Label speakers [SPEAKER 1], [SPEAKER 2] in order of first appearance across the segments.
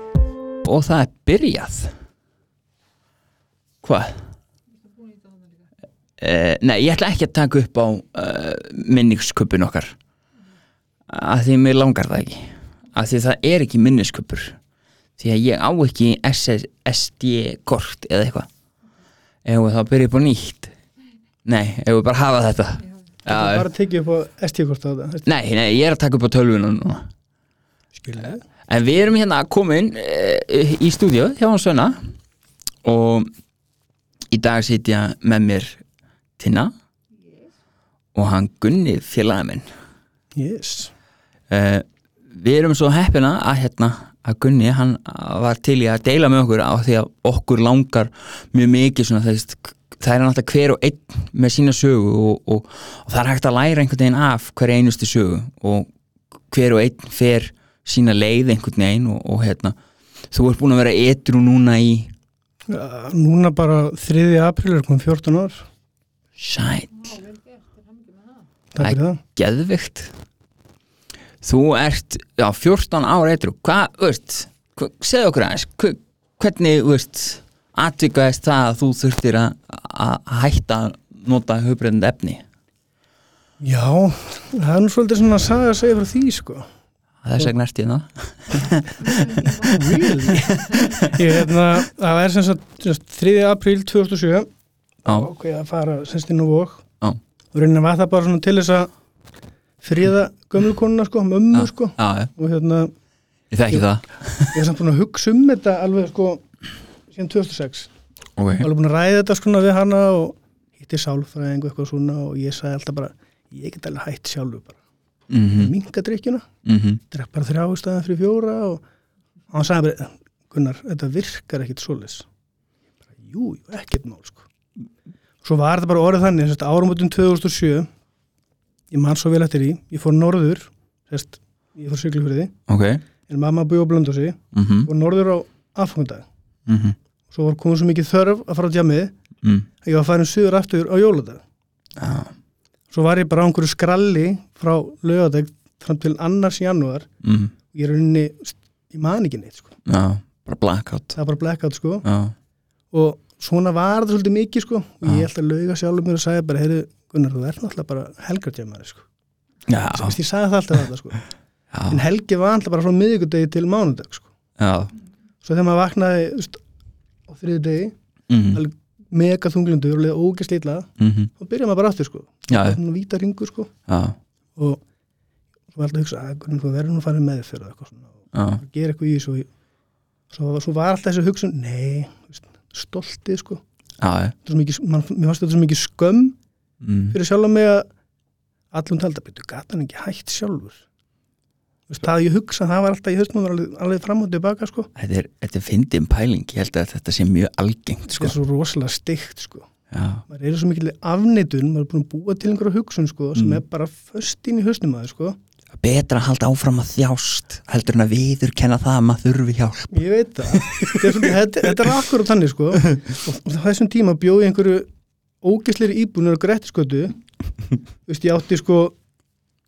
[SPEAKER 1] upp og það er byrjað Hvað? Uh, nei, ég ætla ekki að taka upp á uh, minningsköpun okkar að því mér langar það ekki að því það er ekki minnisköpur því að ég á ekki SS, SD kort eða eitthvað ef við þá byrja upp á nýtt nei, ef við bara hafa þetta
[SPEAKER 2] Það
[SPEAKER 1] já,
[SPEAKER 2] er bara að tekja upp á ST-kort á þetta
[SPEAKER 1] nei, nei, ég er að taka upp á tölvuna núna
[SPEAKER 2] Skilja
[SPEAKER 1] En við erum hérna komin uh, í stúdíu hjá hans Svenna og í dag sitja með mér Tina og hann Gunni félagið minn.
[SPEAKER 2] Yes
[SPEAKER 1] Uh, við erum svo heppina að hérna að Gunni hann var til í að deila með okkur á því að okkur langar mjög mikið svona þess það er náttúrulega hver og einn með sína sögu og, og, og það er hægt að læra einhvern veginn af hverja einustu sögu og hver og einn fer sína leið einhvern veginn og, og hérna þú ert búin að vera etru núna í
[SPEAKER 2] Já, Núna bara 3. apríl er komið 14 ár
[SPEAKER 1] sæt,
[SPEAKER 2] Takk fyrir það
[SPEAKER 1] geðvikt þú ert já, 14 ára etru, hvað, þú veist hva, segðu okkur aðeins, hva, hvernig þú veist, atvikaðist það að þú þurftir að- að hætta að nota hugbreyndandi efni
[SPEAKER 2] Já, það er nú svolítið svona að saga að segja frá því sko
[SPEAKER 1] þess vegna ert ég hérna. það
[SPEAKER 2] Ég hérna, það er sem sagt sem sagt, 3. apríl 2007
[SPEAKER 1] já,
[SPEAKER 2] ok, að fara semst inn á vók
[SPEAKER 1] Já.
[SPEAKER 2] og raunin var það bara svona til þess að friða gömlu konuna sko, mömmu
[SPEAKER 1] Já.
[SPEAKER 2] sko
[SPEAKER 1] já, já,
[SPEAKER 2] og hérna,
[SPEAKER 1] ég þekki það
[SPEAKER 2] ég er samt búin að hugsa um þetta alveg sko síðan 2006
[SPEAKER 1] ok,
[SPEAKER 2] alveg búin að ræða þetta sko við hana og hitti sálfræðingu eitthvað svona og ég sagði alltaf bara ég get alveg hætt sjálfu bara
[SPEAKER 1] mhm,
[SPEAKER 2] minga drikkjuna,
[SPEAKER 1] mhm
[SPEAKER 2] drekk bara þrjá í staðan fyrir fjóra og og hann sagði bara Gunnar, þetta virkar ekkit svolis jú, jú, ekkit mál sko svo var þetta bara orðið þannig sérst, áramótin 2007 ég man svo vel eftir í, ég fór norður sérst, ég fór syklufyrði
[SPEAKER 1] ok,
[SPEAKER 2] en mamma búið á blöndosi
[SPEAKER 1] mhm,
[SPEAKER 2] og norður á aðfangundag
[SPEAKER 1] mhm
[SPEAKER 2] svo var komið svo mikið þörf að fara á djamið
[SPEAKER 1] mm.
[SPEAKER 2] að ég var farin suður aftur á jóladag
[SPEAKER 1] já,
[SPEAKER 2] svo var ég bara á einhverju skralli frá lögadag fram til annars janúar
[SPEAKER 1] mhm,
[SPEAKER 2] ég er unni, ég man ekki neitt sko.
[SPEAKER 1] já, bara blackout
[SPEAKER 2] það var bara blackout sko
[SPEAKER 1] já,
[SPEAKER 2] og svona var það svolítið mikið sko og
[SPEAKER 1] Já.
[SPEAKER 2] ég held að lauga sjálfur mér og sagði bara heyrðu Gunnar, þú ert náttúrulega bara helgartjamaður sko.
[SPEAKER 1] já,
[SPEAKER 2] Þú veist, ég sagði það alltaf þetta sko
[SPEAKER 1] já,
[SPEAKER 2] en helgi var alltaf bara frá miðvikudegi til mánudag sko.
[SPEAKER 1] já
[SPEAKER 2] svo þegar maður vaknaði þú veist, á þriði degi,
[SPEAKER 1] mhm,
[SPEAKER 2] alveg mega þunglundur og leði ógæst lilla,
[SPEAKER 1] mhm,
[SPEAKER 2] þá byrjaði maður bara aftur sko,
[SPEAKER 1] já, já,
[SPEAKER 2] þannig að víta ringur sko
[SPEAKER 1] já,
[SPEAKER 2] og svo var alltaf að hugsa að Gunnar, þú verður nú að fara með þér fyrir eitthvað svona
[SPEAKER 1] já
[SPEAKER 2] og gera eitthvað í þessu og ég- svo, svo var alltaf þessi hugsun, nei þú veist, stoltið sko
[SPEAKER 1] já, já,
[SPEAKER 2] Þetta er svo mikið, man, mér fannst þetta svo mikið skömm
[SPEAKER 1] mhm,
[SPEAKER 2] fyrir sjálf mig að allum talda, betur, gat hann ekki hægt sjálfur Þú veist, það að ég hugsa það var alltaf, ég höfst maður alveg, alveg fram og tilbaka sko.
[SPEAKER 1] þetta er, þetta er fyndin pæling ég held að þetta sé mjög algengt
[SPEAKER 2] sko.
[SPEAKER 1] sko.
[SPEAKER 2] er svo rosalega steikt sko.
[SPEAKER 1] já,
[SPEAKER 2] maður er svo mikil afneitun, maður er búin að búa til einhverja hugsun sko, sem
[SPEAKER 1] Mm.
[SPEAKER 2] er bara föst inn í höstum maður sko.
[SPEAKER 1] betra að halda áfram að þjást heldur en að viður kenna það að maður þurfi hjálp
[SPEAKER 2] ég veit það þetta, er svolítið, þetta, þetta er akkur og þannig sko. og, og þessum tíma bjó ég einhverju ógisleiri íbúinur og gretti skötu veist, ég átti sko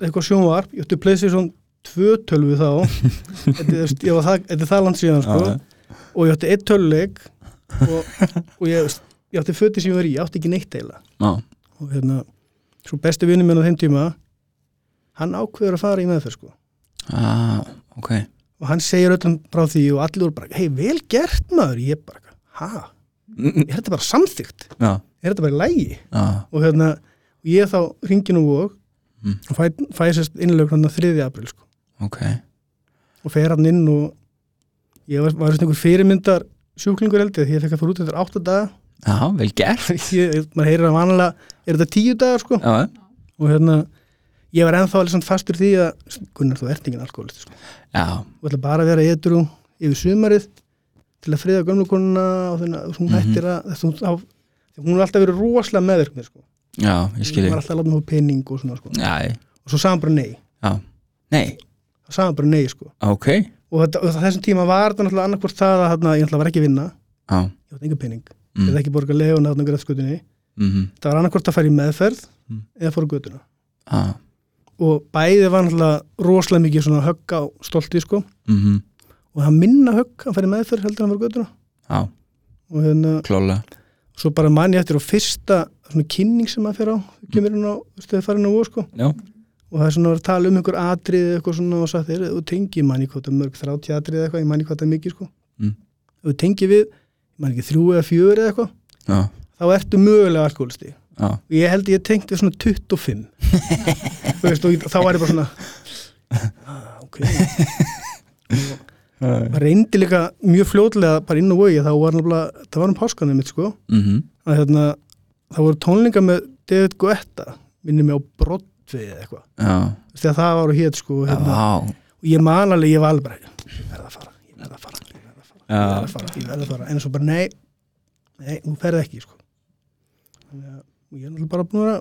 [SPEAKER 2] eitthvað sjónvarp, ég átti Playstation 2 tölvu þá þetta, er, þú veist, ég var það, þetta er það land síðan sko.
[SPEAKER 1] Já, já.
[SPEAKER 2] og ég átti eitt tölvuleik og, og ég, þú veist, ég átti föti sem ég var í, ég átti ekki neitt eila
[SPEAKER 1] já,
[SPEAKER 2] og hérna, svo besti vinnum minn á þeim tíma hann ákveður að fara í meðferð sko
[SPEAKER 1] já, Ah, ok
[SPEAKER 2] og hann segir öllum frá því og allir voru bara, hei, vel gert maður ég bara, hæ,
[SPEAKER 1] Mm,
[SPEAKER 2] er þetta bara samþygt
[SPEAKER 1] já,
[SPEAKER 2] er þetta bara í lægi
[SPEAKER 1] já,
[SPEAKER 2] og hérna, og ég þá ringin og vók
[SPEAKER 1] Mm.
[SPEAKER 2] og fæ, fæ sérst innlögn hann að 3. april sko,
[SPEAKER 1] ok
[SPEAKER 2] og fer hann inn og ég var, var svona einhver fyrirmyndar sjúklingur held ég, því ég fekk að fara út eftir 8 daga
[SPEAKER 1] já, vel gert
[SPEAKER 2] ég, maður heyrir að vanlega, er þetta 10 dagar sko,
[SPEAKER 1] já,
[SPEAKER 2] og hérna ég var ennþá alveg samt fastur því að Gunnar, þú ert engin alkoholist sko.
[SPEAKER 1] já,
[SPEAKER 2] og ætla bara að vera edru yfir sumarið til að friða gömlukonuna og þannig að hún
[SPEAKER 1] Mhm.
[SPEAKER 2] hættir að þess, hún, á, hún er alltaf verið rosalega meðverkni sko.
[SPEAKER 1] já, ég
[SPEAKER 2] hún
[SPEAKER 1] skilji
[SPEAKER 2] var alltaf að láta hún pening og svona sko.
[SPEAKER 1] já, ég-
[SPEAKER 2] og svo sagði hann bara nei,
[SPEAKER 1] já, nei,
[SPEAKER 2] það sagði hann bara nei sko.
[SPEAKER 1] ok
[SPEAKER 2] og, þetta, og þessum tíma var þetta náttúrulega annarkvort það að þarna, ég náttúrulega var ekki að vinna
[SPEAKER 1] já,
[SPEAKER 2] ég átti enga pening, ég
[SPEAKER 1] mm,
[SPEAKER 2] ætla ekki borga leguna þarna græðskutinni,
[SPEAKER 1] mhm,
[SPEAKER 2] það var annarkvort að fara í meðferð
[SPEAKER 1] Mm.
[SPEAKER 2] eða fór götuna
[SPEAKER 1] já,
[SPEAKER 2] og bæði var náttúrulega rosalega mikið svona högg á stolti sko.
[SPEAKER 1] mhm,
[SPEAKER 2] og og hann minna högg, hann færi meðferð heldur en hann var göttuna
[SPEAKER 1] já,
[SPEAKER 2] og hérna,
[SPEAKER 1] klálega
[SPEAKER 2] svo bara man ég eftir og fyrsta svona kynning sem maður fer á kemur hann á, þú veist, það farin á og sko
[SPEAKER 1] já,
[SPEAKER 2] og það er svona að vera að tala um einhver atriði eitthvað svona og sagt, er, þú tengi, ég man ekki hvað það er mörg 30 atriði eða eitthvað, ég man ekki hvað það er mikið sko
[SPEAKER 1] Mm.
[SPEAKER 2] ef þú tengi við, ég man ekki þrjú eða fjör eða eitthvað,
[SPEAKER 1] já,
[SPEAKER 2] þá ertu mögulega alkoholisti
[SPEAKER 1] já,
[SPEAKER 2] og ég held ég tengt við svona 25 Þú veist, og ég- þá var ég bara svona ah, ok og reyndi líka mjög fljótlega bara inn á vogi, þá var náttúrulega það var um páskanum mitt sko
[SPEAKER 1] mhm,
[SPEAKER 2] að hérna, það voru tónlinga með David Guetta, minni mig á Broadway eða eitthvað,
[SPEAKER 1] já,
[SPEAKER 2] þegar það var og hét sko hérna,
[SPEAKER 1] já,
[SPEAKER 2] og ég man alveg, ég var alveg bara ég verð að fara, ég verð að fara ég verð að fara, ég
[SPEAKER 1] Já.
[SPEAKER 2] verð að fara, ég verð að fara en svo bara nei, nei, þú ferð ekki sko. þannig að og ég er náttúrulega bara búin að vera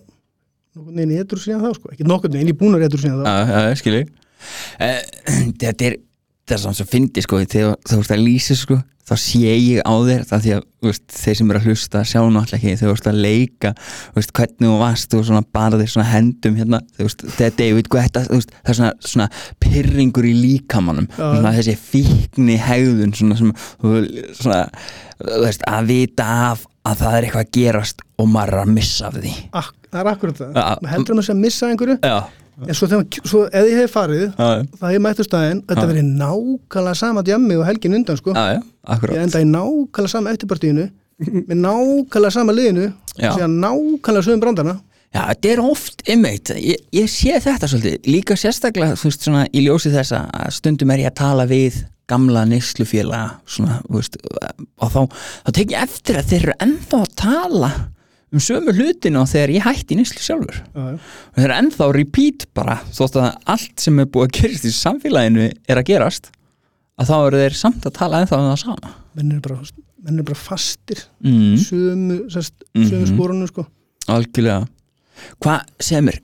[SPEAKER 2] nokkurn veginn eitthvað síðan þá sko, ekki nokkurn veginn, ég er búin að vera eitthvað síðan þá
[SPEAKER 1] já, já, skilji Eh, Þetta er það er svona svo fyndi sko þegar þú ert að lýsa sko þá sé ég á þér það því að þú veist, þeir sem eru að hlusta sjá náttúrulega ekki þegar þú ert að leika þú veist, hvernig þú varst og svona bara þér svona hendum hérna þú veist, þegar David Guetta þú veist, það er svona, svona pyrringur í líkamanum
[SPEAKER 2] Já.
[SPEAKER 1] svona þessi fíkni hegðun svona sem þú svona, þú veist, að vita af að það er eitthvað að gerast og maður er að missa af því
[SPEAKER 2] Ak, það er akkurat það,
[SPEAKER 1] Já.
[SPEAKER 2] maður heldur að maður sé að missa einhverju
[SPEAKER 1] Já,
[SPEAKER 2] en svo þegar, svo eða ég hef farið
[SPEAKER 1] já,
[SPEAKER 2] það hef mættu staðinn, þetta
[SPEAKER 1] Já.
[SPEAKER 2] verið nákvæmlega sama djammi og helgin undan sko
[SPEAKER 1] já, já, akkurat
[SPEAKER 2] ég enda í nákvæmlega sama eftirpartíinu með nákvæmlega sama liðinu
[SPEAKER 1] Já.
[SPEAKER 2] síðan nákvæmlega sögum brandana
[SPEAKER 1] Já, þetta er oft einmitt, ég, ég sé þetta svolítið, líka sérstaklega, þú veist, svona í ljósi þessa að stundum er ég að tala við gamla neyslufélaga, svona, þú veist, og þá, þá tek ég eftir að þeir eru ennþá að tala um sömu hlutinu og þegar ég hætti neyslu sjálfur.
[SPEAKER 2] já, já.
[SPEAKER 1] Og þeir eru ennþá repeat bara, þótt að allt sem er búið að gerast í samfélaginu er að gerast, að þá eru þeir samt að tala ennþá um það sama.
[SPEAKER 2] menn er bara, menn er bara fastir
[SPEAKER 1] Mm.
[SPEAKER 2] sömu, sest, sömu
[SPEAKER 1] Mhm.
[SPEAKER 2] spórunum sko.
[SPEAKER 1] Algjörlega Hvað sem er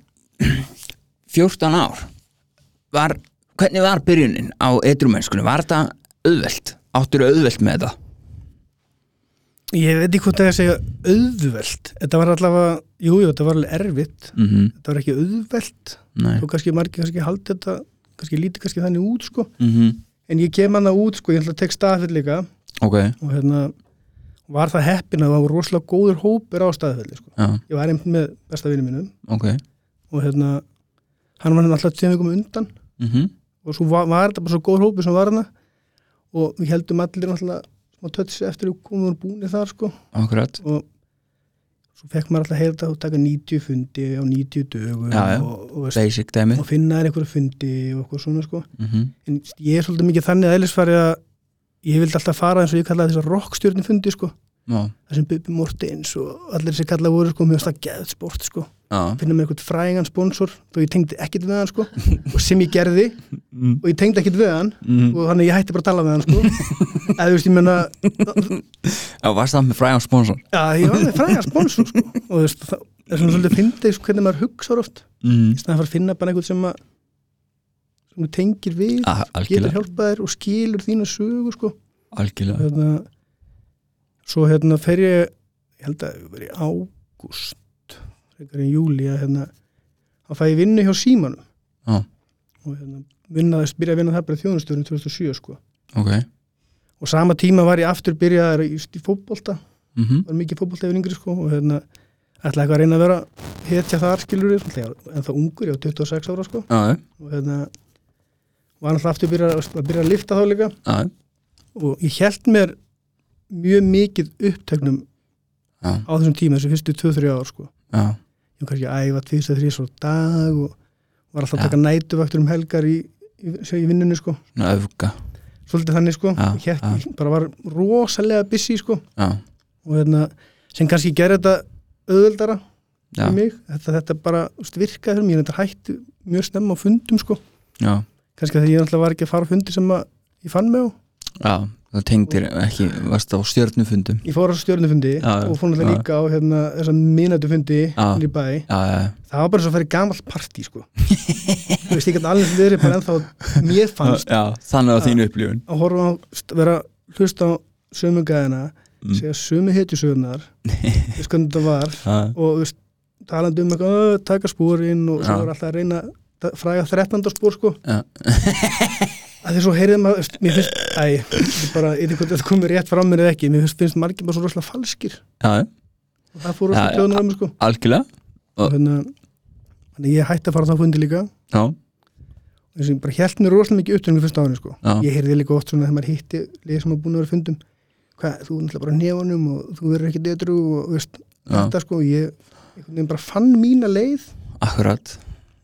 [SPEAKER 1] 14 ár var, Hvernig var byrjunin á eitrumennskunni? Var þetta auðvelt? Áttur auðvelt með þetta?
[SPEAKER 2] ég veit ekki hvort það er að segja auðvelt þetta var allavega, jújú, jú, þetta var alveg erfitt
[SPEAKER 1] Mm -hmm.
[SPEAKER 2] þetta var ekki auðvelt
[SPEAKER 1] Nei
[SPEAKER 2] og kannski margir kannski haldi þetta kannski líti kannski þannig út sko.
[SPEAKER 1] mm
[SPEAKER 2] en ég kem hann út, sko, ég ætla að tek staðfell líka
[SPEAKER 1] Ok,
[SPEAKER 2] og hérna var það heppin að það var rosalega góður hópur á staðfelli sko.
[SPEAKER 1] já,
[SPEAKER 2] ég var einmitt með besta vinnu mínum
[SPEAKER 1] ok
[SPEAKER 2] og hérna hann var hérna alltaf tveim vikum á undan
[SPEAKER 1] mm
[SPEAKER 2] og svo var, var þetta bara svo góð hópur sem var hana og við heldum allir náttúrulega smá tötsi eftir að við komum búinir þar sko
[SPEAKER 1] Akkurat
[SPEAKER 2] og svo fekk maður alltaf að heyra þetta og taka 90 fundi á 90 dögum
[SPEAKER 1] Já, já.
[SPEAKER 2] og, og, veist,
[SPEAKER 1] Basic dæmið
[SPEAKER 2] og finna þær einhverju fundi og eitthvað svona sko
[SPEAKER 1] mm
[SPEAKER 2] en ég er svolítið mikið þannig eðlisfari að ég vildi alltaf fara eins og ég kallaði þessar rockstjörnum fundi sko
[SPEAKER 1] Já,
[SPEAKER 2] það sem Bubi Mortens og allir þessi kallaði voru sko mjög stað geðsport sko
[SPEAKER 1] já
[SPEAKER 2] finna mér eitthvað frægan sponsor þó ég tengdi ekkit við hann sko og sem ég gerði og ég tengdi ekkit við hann
[SPEAKER 1] Mhm.
[SPEAKER 2] og þannig ég hætti bara að tala við hann sko eða þú veist ég menna
[SPEAKER 1] Já, varst það með fræðan sponsor
[SPEAKER 2] að ég var alveg frægan sponsor sko og þú veist það er svona svolítið fyndið sko, hvernig maður hugsar oft
[SPEAKER 1] mm.
[SPEAKER 2] í staðan fyrir að finna bara einhvern sem að sem þú tengir við
[SPEAKER 1] ah,
[SPEAKER 2] getur
[SPEAKER 1] Algjörlega,
[SPEAKER 2] hjálpað þér og skilur þína sögu sko og
[SPEAKER 1] algjörlega
[SPEAKER 2] hérna svo hérna fer ég ég held að það var í ágúst frekar en júli að hérna þá fæ ég vinnu hjá símanum
[SPEAKER 1] Já,
[SPEAKER 2] og hérna vinnaðist, byrja að vinna það bara þjóðnustjórnum 2007 sko
[SPEAKER 1] ok
[SPEAKER 2] og sama tíma var ég aftur byrjaðar í, í fótbolta,
[SPEAKER 1] mm
[SPEAKER 2] var mikið fótbolta yfir yngri sko og hérna ætlaði eitthvað að reyna að vera hetja þar skilur ég, en það ungur, ég var 26 ára sko
[SPEAKER 1] Já, já,
[SPEAKER 2] og hérna var alltaf aftur byrja, að byrja að lifta þá líka
[SPEAKER 1] já,
[SPEAKER 2] og ég held mér mjög mikið upptöknum
[SPEAKER 1] já,
[SPEAKER 2] á þessum tíma, þessu fyrstu 2-3 ár sko
[SPEAKER 1] já
[SPEAKER 2] ég var kannski að æfa 2-3 svo dag og var alltaf að
[SPEAKER 1] Já.
[SPEAKER 2] taka nætuvaktur um helgar í, í, í, í vinnunni sko
[SPEAKER 1] Svona öfga
[SPEAKER 2] svolítið þannig sko
[SPEAKER 1] Já,
[SPEAKER 2] ég hékk,
[SPEAKER 1] já.
[SPEAKER 2] ég bara var rosalega busy sko
[SPEAKER 1] Já,
[SPEAKER 2] og hérna, sem kannski gerði þetta auðveldara
[SPEAKER 1] já,
[SPEAKER 2] fyrir mig þetta, þetta bara þú veist, virkaði fyrir mig, ég er þetta hætti mjög snemma á fundum sko,
[SPEAKER 1] já
[SPEAKER 2] kannski þegar ég náttúrulega var ekki að fara á fundi sem að ég fann mig á
[SPEAKER 1] Já, það tengdir ekki, varst á stjörnufundum
[SPEAKER 2] ég fór á stjórnufundi
[SPEAKER 1] Já, já,
[SPEAKER 2] og fór náttúrulega
[SPEAKER 1] já.
[SPEAKER 2] líka á hérna, þessa mínatufundi
[SPEAKER 1] Já.
[SPEAKER 2] í bæ,
[SPEAKER 1] Já, já, já.
[SPEAKER 2] það var bara svo að fara í gamalt partí sko þú veist, ég gæti alveg verið bara ennþá mér fannst
[SPEAKER 1] já, þannig á þínu upplifun
[SPEAKER 2] að horfa á, st- vera að hlusta á sömu gæðina,
[SPEAKER 1] Mm.
[SPEAKER 2] segja sömu hetjusögunar þú veist hvernig þetta var
[SPEAKER 1] Já,
[SPEAKER 2] og þú veist, talandi um eitthvað "Ö, taka spórin og svo
[SPEAKER 1] Já.
[SPEAKER 2] var alltaf að reyna að fræga 13. spór sko
[SPEAKER 1] Já.
[SPEAKER 2] að að því svo heyrið maður, veist, mér finnst, æ, ég bara, ég veit ekki hvort þetta komið rétt frá mér eða ekki, mér finnst, finnst margir bara svo rosalega falskir
[SPEAKER 1] já,
[SPEAKER 2] og það fór
[SPEAKER 1] Já,
[SPEAKER 2] rosalega
[SPEAKER 1] já.
[SPEAKER 2] tjóðan á mig sko.
[SPEAKER 1] algjörlega Og-
[SPEAKER 2] Þannig að- þannig að ég hætti að fara á þá fundi líka,
[SPEAKER 1] já,
[SPEAKER 2] þess að ég bara held mér rosalega mikið upp til mér fyrsta árið sko.
[SPEAKER 1] Já.
[SPEAKER 2] Ég heyrði líka oft svona þegar maður hitti lið sem að búin að vera á fundum, hvað, þú er náttúrulega bara á hnefanum og þú verður ekki detru og veist,
[SPEAKER 1] Já.
[SPEAKER 2] þetta sko, ég, einhvern veginn bara fann mína leið
[SPEAKER 1] akkurat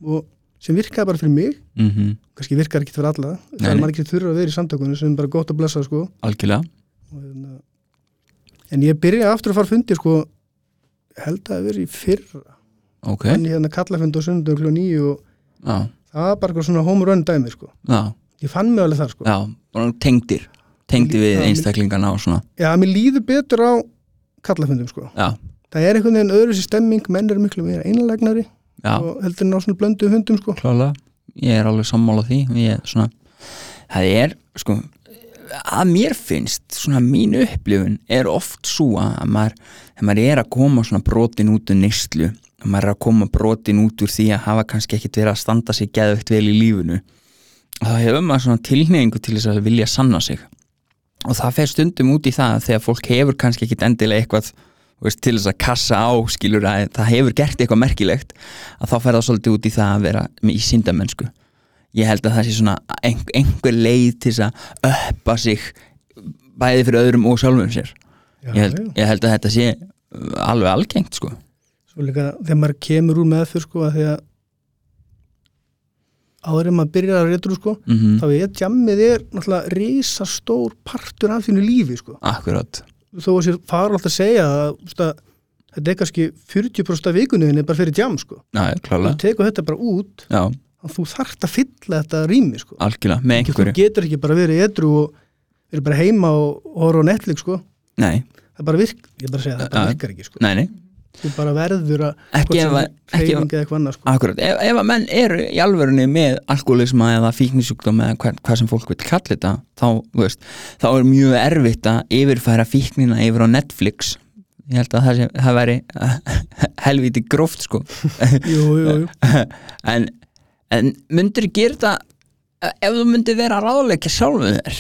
[SPEAKER 2] og sem virkaði bara fyrir mig
[SPEAKER 1] mm
[SPEAKER 2] kannski virkar ekki fyrir alla það
[SPEAKER 1] Nei,
[SPEAKER 2] er
[SPEAKER 1] nei.
[SPEAKER 2] margir þurfa að vera í samtökunum sem er bara gott að blessa sko.
[SPEAKER 1] algjörlega
[SPEAKER 2] Og hérna, en ég byrjaði aftur að fara fundi sko, held að vera í fyrra
[SPEAKER 1] ok,
[SPEAKER 2] en ég hérna kallafund á sunnudum kl. 9 og
[SPEAKER 1] já,
[SPEAKER 2] það var bara eitthvað svona home run dæmi sko.
[SPEAKER 1] já,
[SPEAKER 2] ég fann mig alveg þar sko.
[SPEAKER 1] já og tengdir, tengdir við
[SPEAKER 2] Já,
[SPEAKER 1] einstaklingana og svona,
[SPEAKER 2] já, mér líður betur á kallafundum sko.
[SPEAKER 1] já,
[SPEAKER 2] það er einhvern veginn öðruvísi stemming menn eru miklu meira einalegnari
[SPEAKER 1] já
[SPEAKER 2] og heldur en á svona blöndu hundum sko.
[SPEAKER 1] klálega, ég er alveg sammála því ég er svona, það er sko, að mér finnst svona mín upplifun er oft svo að maður, að maður er að koma svona brotin út úr neyslu að maður er að koma brotin út úr því að hafa kannski ekkit verið að standa sig geðvegt vel í lífinu þá hefur maður svona tilneyingu til þess að vilja sanna sig og það fer stundum út í það að þegar fólk hefur kannski ekkit endilega eitthvað þú veist, til þess að kassa á skilur að það hefur gert eitthvað merkilegt að þá fer það svolítið út í það að vera í síndamennsku ég held að það sé svona ein, einhver leið til þess að öppa sig bæði fyrir öðrum og sjálfum sér
[SPEAKER 2] já,
[SPEAKER 1] ég held,
[SPEAKER 2] já.
[SPEAKER 1] ég held að þetta sé uh, alveg algengt sko
[SPEAKER 2] svo líka þegar maður kemur úr meðfyr sko, að því að áður en maður byrjar að reytur sko,
[SPEAKER 1] mm
[SPEAKER 2] þá er jammið er náttúrulega risastór partur af þínu lífi sko.
[SPEAKER 1] akkurat
[SPEAKER 2] þó að sér fara alltaf að segja að, þú veist, að þetta er kannski 40% af vikunniðinni bara fyrir jam sko.
[SPEAKER 1] Já,
[SPEAKER 2] þú
[SPEAKER 1] klálega
[SPEAKER 2] tekur þetta bara út
[SPEAKER 1] Já,
[SPEAKER 2] að þú þarft að fylla þetta rými sko.
[SPEAKER 1] algjörlega, með
[SPEAKER 2] þú
[SPEAKER 1] einhverju
[SPEAKER 2] getur ekki bara verið edru og verið bara heima og og horfa á Netflix sko.
[SPEAKER 1] Nei,
[SPEAKER 2] það bara virk, ég bara segja það, það
[SPEAKER 1] Já.
[SPEAKER 2] bara virkar ekki sko.
[SPEAKER 1] nei, nei,
[SPEAKER 2] þú bara verður að
[SPEAKER 1] Ekki ef að- ekki ef-
[SPEAKER 2] hreyfinga eða eitthvað annað sko.
[SPEAKER 1] akkurat Ef, ef að menn eru í alvörunni með alkoholisma eða fíknisjúkdóm eða hvað, hvað sem fólk vil kalla þetta þá, þú veist, þá er mjög erfitt að yfirfæra fíknina yfir á Netflix Ég held að það, sé, það væri helviti gróft sko
[SPEAKER 2] jú, jú, jú.
[SPEAKER 1] en, en myndir gera þetta e, ef þú myndir vera að ráðleika sjálfum þér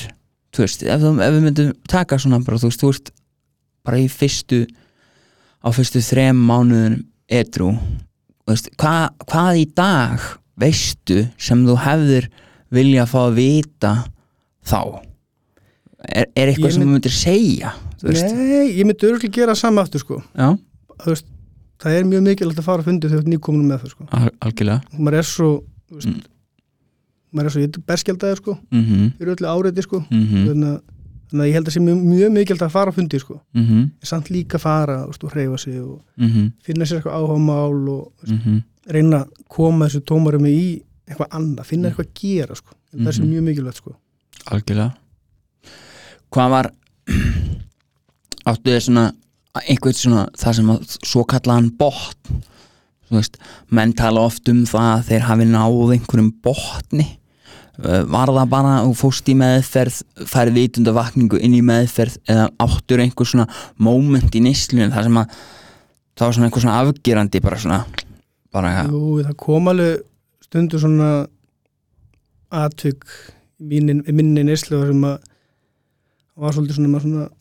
[SPEAKER 1] þú veist, ef þú ef við myndir taka svona bara, þú veist, þú ert bara í fyrstu á fyrstu þrem mánuðunum edru þú veist, hva, hvað í dag veistu sem þú hefðir vilja að fá að vita þá er, er eitthvað
[SPEAKER 2] Ég
[SPEAKER 1] sem
[SPEAKER 2] mynd-
[SPEAKER 1] þú myndir segja þú veist,
[SPEAKER 2] nei, ég myndi örgulega gera það sama aftur sko.
[SPEAKER 1] já,
[SPEAKER 2] Þú veist, það er mjög mikilvægt að fara að fundi þegar þú ert nýkominum með það sko.
[SPEAKER 1] al algjörlega
[SPEAKER 2] og maður er svo þú veist, maður er svo, ég er berskjaldæði sko,
[SPEAKER 1] mm -hmm,
[SPEAKER 2] fyrir öllu áreiti sko.
[SPEAKER 1] mm -hmm,
[SPEAKER 2] þannig, að, þannig að ég held að sé mjög, mjög mikilvægt að fara á fundi sko.
[SPEAKER 1] mm -hmm,
[SPEAKER 2] en samt líka fara þú veist, og hreyfa sig og
[SPEAKER 1] mm -hmm,
[SPEAKER 2] finna sér eitthvað áhámál og þú veist, reyna að koma þessu tómarumi í eitthvað annað, finna eitthvað að gera sko. mm það sé
[SPEAKER 1] Mhm.
[SPEAKER 2] mjög mikilvægt sko.
[SPEAKER 1] Algjörlega Hvað var áttu þér svona einhvern svona það sem að svo kallaðan botn þú veist, menn tala oft um það að þeir hafi náð einhverjum botni Eh, var það bara og fórst í meðferð færði vitundavakningu inn í meðferð eða áttur einhver svona moment í neyslunum þar sem að það var svona einhver svona afgerandi bara svona bara ja.
[SPEAKER 2] Jú, það kom alveg stundu svona atvik mínin, minni neyslu þar sem að var svolítið svona, maður svona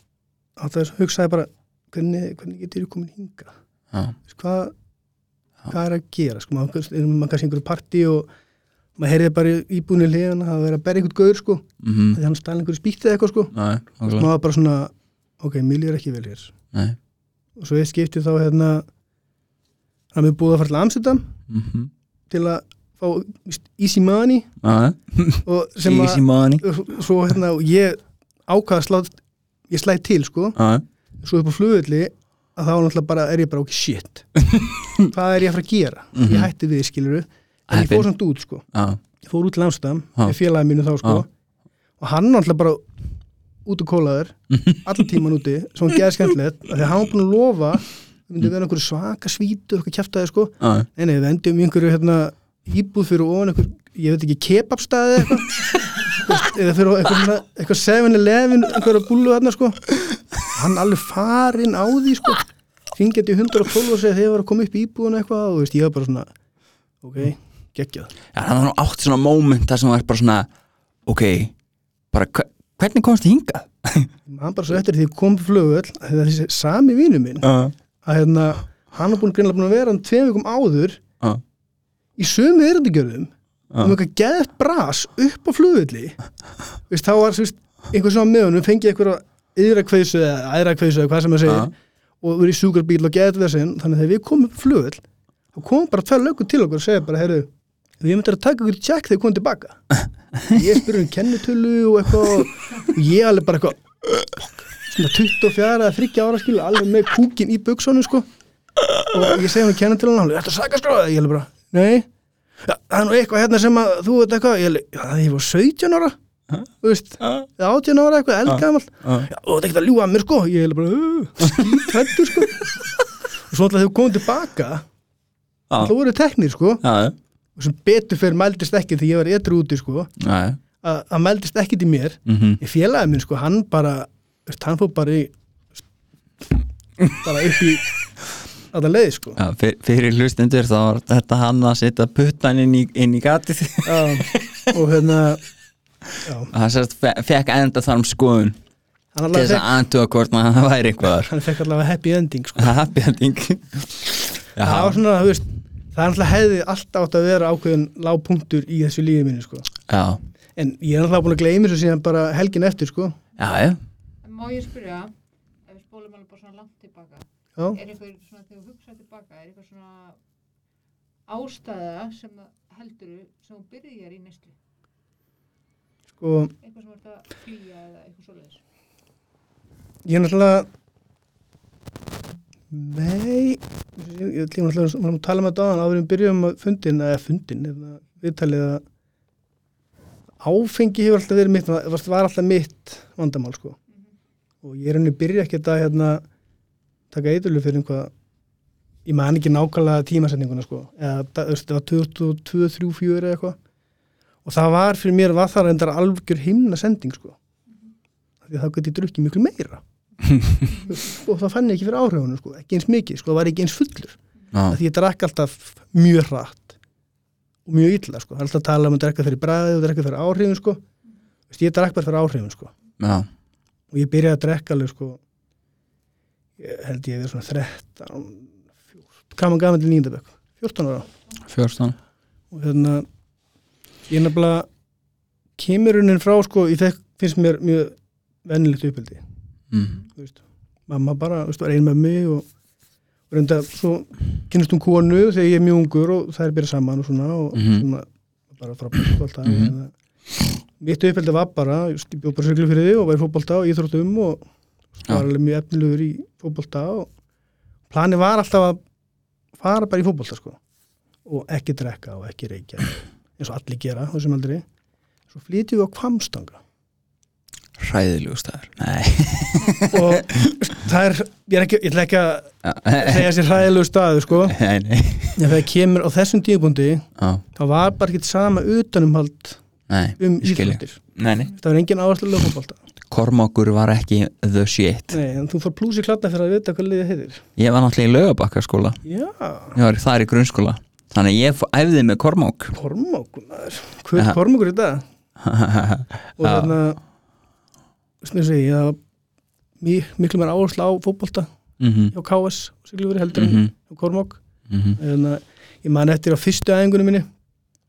[SPEAKER 2] að það hugsaði bara hvernig, hvernig getur ég komin hingað
[SPEAKER 1] Já,
[SPEAKER 2] Þú veist, hvað, hvað er að gera sko, maður er maður kannski í einhverju partí og maður heyrði bara íbúinu hliðan að það verið að berja einhvern gaur sko,
[SPEAKER 1] mhm,
[SPEAKER 2] þegar hann stæði einhverju spýttið eitthvað sko,
[SPEAKER 1] já,
[SPEAKER 2] og
[SPEAKER 1] okkurlega
[SPEAKER 2] maður var bara svona ok, mér líður ekki vel hér
[SPEAKER 1] Nei,
[SPEAKER 2] og svo eitt skipti þá hérna hann er búið að fara til Amsterdam
[SPEAKER 1] mhm,
[SPEAKER 2] til að fá víst, easy money
[SPEAKER 1] já,
[SPEAKER 2] og sem
[SPEAKER 1] easy
[SPEAKER 2] að
[SPEAKER 1] money
[SPEAKER 2] svo hérna, og ég ákvað að slá ég slæði til sko,
[SPEAKER 1] Já,
[SPEAKER 2] svo upp á flugulli að þá náttúrulega bara er ég bara ok, shit hvað er ég að fara að gera ég hætti við, skiluru en ég
[SPEAKER 1] Heppin.
[SPEAKER 2] fór samt út sko,
[SPEAKER 1] já
[SPEAKER 2] ég fór út til Amsterdam
[SPEAKER 1] Já.
[SPEAKER 2] með félagi mínu þá sko
[SPEAKER 1] Já.
[SPEAKER 2] og hann náttúrulega bara út og kólaður allan tíman úti, sem hann geði skemmtilegt af því að hann var búin að lofa það myndi vera einhverju svaka svítu, eitthvað kjæftaði sko
[SPEAKER 1] Já,
[SPEAKER 2] nei, nei, við endum í einhverju hérna, íbúð fyrir ofan einhver, ég veit ekki, kebabstaði eða eitthvað Þú veist, eða fyrir eitthvað, svona- eitthvað 7-11 einhverja búlu þarna sko hann alveg farinn á því sko hringið í 112 og segja þegar ég var að koma upp í íbúðuna eitthvað og þú veist, ég var bara svona ok, geggjað
[SPEAKER 1] það var nú átt svona moment þar sem var bara svona ok, bara hve- hvernig komst þið hingað?
[SPEAKER 2] hann bara svo eftir því ég kom flugvöld það er þessi sami vinur minn
[SPEAKER 1] Uh,
[SPEAKER 2] að hérna, hann er búin greinlega búin að vera hann tveim vikum áður
[SPEAKER 1] uh,
[SPEAKER 2] í sömu erindagjörðum um eitthvað geðt bras upp á flugvöldi veist, þá var þú veist, einhver svona með honum fengið eitthvað yðra kveisu eða æðra kveisu eða hvað sem það segir
[SPEAKER 1] Já.
[SPEAKER 2] og verið í sjúkarbíl og geðt við þessin þannig að þegar við komum upp á flugvöld þá komum bara tvær lögur til okkur og segja bara heyrðu, við myndum að taka ykkur tjekk þegar við komum tilbaka ég spyrir um kennitölu og eitthvað og ég alveg bara eitthvað svona 24 eða 30 ára skilu alveg með kúkin í buksonu sko og ég segi hún kenna til hann alveg, þetta saka sko ég alveg bara, nei ja, það er nú eitthvað hérna sem að þú veit eitthvað ég alveg, já, það ég var 17 ára þú veist, eða 18 ára eitthvað eldgamall já, og þetta er ekkert að ljúga að mér sko ég alveg bara, skýt hættu sko og svo alltaf þau komum tilbaka
[SPEAKER 1] Já.
[SPEAKER 2] þá voru teknir sko og sem betur fyrir mældist ekki þegar ég var etru úti sko
[SPEAKER 1] uh,
[SPEAKER 2] að að mældist ekki til mér
[SPEAKER 1] uh,
[SPEAKER 2] í félagið minn sko, hann bara þú veist, hann fór bara í bara upp í að það leiði sko
[SPEAKER 1] Já, fyr- fyrir hlustendur þá var þetta hann að setja puttan inn í, inn í gatið
[SPEAKER 2] já, og hérna já,
[SPEAKER 1] hann sérst fe fekk enda þar um skoðun til
[SPEAKER 2] hann allavega
[SPEAKER 1] þess að antuga hvort maður það væri eitthvað
[SPEAKER 2] fekk, hann fekk allavega happy ending sko.
[SPEAKER 1] þar happy ending já,
[SPEAKER 2] það var svona, þú veist það er alltaf hefði alltaf átt að vera ákveðin lágpunktur í þessu lífi minni sko.
[SPEAKER 1] já,
[SPEAKER 2] en ég er alltaf búin að gleymi þessu síðan bara helgin eftir sko.
[SPEAKER 1] já, já
[SPEAKER 3] En Má ég spyrja, ef við spólum alveg bara svona langt tilbaka,
[SPEAKER 2] já,
[SPEAKER 3] er eitthvað svona þegar þú hugsa tilbaka, er eitthvað svona ástæða sem heldur sem þú byrjar í næstu,
[SPEAKER 2] sko,
[SPEAKER 3] eitthvað sem þú ert að flýja eða eitthvað svoleiðis?
[SPEAKER 2] ég er náttúrulega nei ég ég ætlum náttúrulega við varum að tala með þetta áðan áður en við byrjum að fundin eða fundin, eða viðtalið að áfengi hefur alltaf verið mitt það var alltaf mitt vandamál sko og ég er henni byrja ekkert að hérna, taka eiturlu fyrir einhvað ég man ekki nákvæmlega tímasetninguna sko eða það þú veist, það var 2002, 3, 4 eða eitthvað og það var fyrir mér var það reyndar algjör himna sending sko Af því að það gæti ég drukkið miklu meira og sko, það fann ég ekki fyrir áhrifunum sko, ekki eins mikið, sko, það var ekki eins fullur
[SPEAKER 1] já,
[SPEAKER 2] að því ég drakk alltaf mjög hratt og mjög illa, sko, það er alltaf að tala um að drekka fyrir bræði og drekka fyrir áhrifun, sko Vist, ég drakk bara fyrir áhrifun, sko
[SPEAKER 1] já,
[SPEAKER 2] og ég byrjaði að drekka alveg, sko ég held ég að vera svona 13 14, hvað maður gafin til nýndabökk 14 ára
[SPEAKER 1] fjórstan
[SPEAKER 2] og hérna ég nefnilega kemur unin frá, sko, ég fekk, finnst mér mjög venilegt uppeldi
[SPEAKER 1] mm.
[SPEAKER 2] þú veist, mamma bara þú veist, var ein með mig og og reynda, svo kynnist hún konu þegar ég er mjög ungur og það er byrjað saman og svona og
[SPEAKER 1] Mhm.
[SPEAKER 2] svona, bara frábært fólta mm
[SPEAKER 1] Mhm.
[SPEAKER 2] -hmm. mitt uppeldi var bara just, ég bjóð bara sérklu fyrir þig og var í fótbolta og íþróttum og
[SPEAKER 1] Já.
[SPEAKER 2] var alveg mjög efnilegur í fótbolta og plani var alltaf að fara bara í fótbolta sko og ekki drekka og ekki reykja eins og allir gera, þú sem aldrei svo flytjum við á kvamstanga
[SPEAKER 1] hræðilegu staður nei,
[SPEAKER 2] og það er, ég er ekki, ég ætla ekki að
[SPEAKER 1] já,
[SPEAKER 2] segja sér hræðilegu staðu sko
[SPEAKER 1] nei,
[SPEAKER 2] en
[SPEAKER 1] nei.
[SPEAKER 2] þegar kemur á þessum tíðbúndi
[SPEAKER 1] Já,
[SPEAKER 2] þá var bara ekkert sama utanumhald
[SPEAKER 1] nei,
[SPEAKER 2] um
[SPEAKER 1] ég skil ég.
[SPEAKER 2] íþróttir
[SPEAKER 1] nei, nei.
[SPEAKER 2] það var engin áherslu lögfóbalta
[SPEAKER 1] Kormákur var ekki the shit
[SPEAKER 2] nei, en þú fór plúsi kladna fyrir að vita hvað liðið heitir
[SPEAKER 1] ég var náttúrulega í laugabakkaskóla
[SPEAKER 2] já,
[SPEAKER 1] ég var þar í grunnskóla þannig að ég fó- æfði með kormák
[SPEAKER 2] kormákunar
[SPEAKER 1] Aha.
[SPEAKER 2] hver kormákur í dag og
[SPEAKER 1] Já.
[SPEAKER 2] þarna sem ég segi, það var mik- miklu mér áherslu á fótbolta
[SPEAKER 1] mhm,
[SPEAKER 2] hjá KS, siglufur heldur en
[SPEAKER 1] mhm,
[SPEAKER 2] hjá kormák
[SPEAKER 1] mhm
[SPEAKER 2] en hérna, ég man eftir á fyrstu æfingunum minni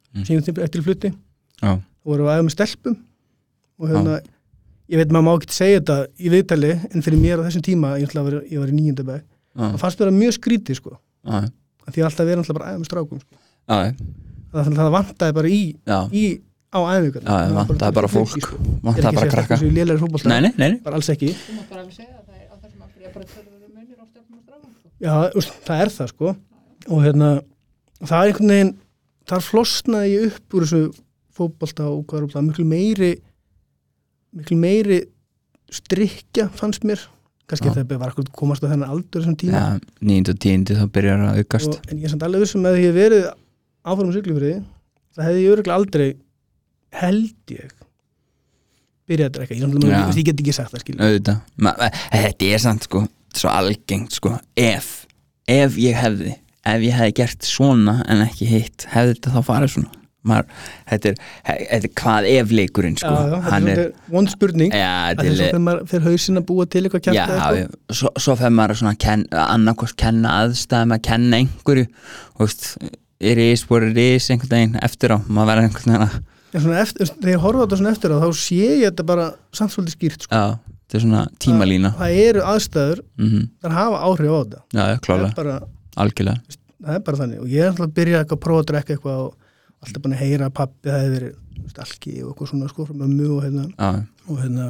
[SPEAKER 1] Mm.
[SPEAKER 2] sem ég eftir flutti
[SPEAKER 1] Já.
[SPEAKER 2] og voru að æfa með stelpum og hérna, ég veit maður má ekki segja þetta í viðtali en fyrir mér á þessum tíma, ég, ætla að vera, ég var í nýjöndabæk
[SPEAKER 1] Já,
[SPEAKER 2] það fannst vera mjög skrítið sko
[SPEAKER 1] já,
[SPEAKER 2] af því að alltaf verið alltaf bara að æfa með strákum sko.
[SPEAKER 1] já,
[SPEAKER 2] það, það vantaði bara í,
[SPEAKER 1] já,
[SPEAKER 2] í á æfingunum
[SPEAKER 1] Já, já, vantaði bara fólk,
[SPEAKER 2] sko.
[SPEAKER 1] vantaði bara krakka Nei,
[SPEAKER 2] Nei,
[SPEAKER 1] nei, nei, nei.
[SPEAKER 2] bara alls ekki
[SPEAKER 3] Þú mátt bara alveg segja að það er á þessum aldrei að bara törður munir á stefnum og strafum, sko.
[SPEAKER 2] já, úst, það er það sko og hérna, það er einhvern veginn þar flosnaði ég upp úr þessu fótbolta og hvað er það miklu meiri miklu meiri strikja fannst mér kannski
[SPEAKER 1] Já.
[SPEAKER 2] þegar það var akkur komast á þennan aldur þessum tíma
[SPEAKER 1] Já, níund og tíundi þá byrjar að aukast
[SPEAKER 2] og, en ég er samt alveg vissum að ég hef verið áfram siglufriði, það hefði ég öruglega aldrei held ég byrjað að drekka ég, náttúrulega-
[SPEAKER 1] Já.
[SPEAKER 2] þú veist, ég get ekki sagt það skilja
[SPEAKER 1] auðvitað, ma, ma, þetta er samt sko svo algengt sko, ef ef ég hefði, ef ég hefði gert svona en ekki hitt, hefði þetta þá farið svona maður, þetta, er, þetta er hvað ef leikurinn sko,
[SPEAKER 2] já, þetta
[SPEAKER 1] hann
[SPEAKER 2] er
[SPEAKER 1] er
[SPEAKER 2] svolítið vond spurning
[SPEAKER 1] já,
[SPEAKER 2] að því
[SPEAKER 1] til,
[SPEAKER 2] svo þegar maður fyrir hausin að búa til eitthvað
[SPEAKER 1] já,
[SPEAKER 2] kjarta
[SPEAKER 1] já, svo, svo fer maður svona að ken, annarkvort kenna aðstæðum að kenna einhverju þú veist, er ís, voru ís einhvern veginn eftir á, maður verður einhvern veginn að
[SPEAKER 2] En svona eftir, þegar ég horfa á þetta svona eftir á þá sé ég þetta bara samt svolítið skýrt sko.
[SPEAKER 1] já, þetta er svona tímalína
[SPEAKER 2] það eru aðstæður
[SPEAKER 1] mm
[SPEAKER 2] þar hafa áhrif á þetta
[SPEAKER 1] já, já,
[SPEAKER 2] það er,
[SPEAKER 1] klálega,
[SPEAKER 2] bara,
[SPEAKER 1] algjörlega
[SPEAKER 2] það er bara þannig og ég er alltaf að byrja eitthvað að prófa að drekka eitthvað og alltaf búin að heyra að pappi það hefur verið stalki og eitthvað svona sko frá mömmu og hérna,
[SPEAKER 1] já,
[SPEAKER 2] og hérna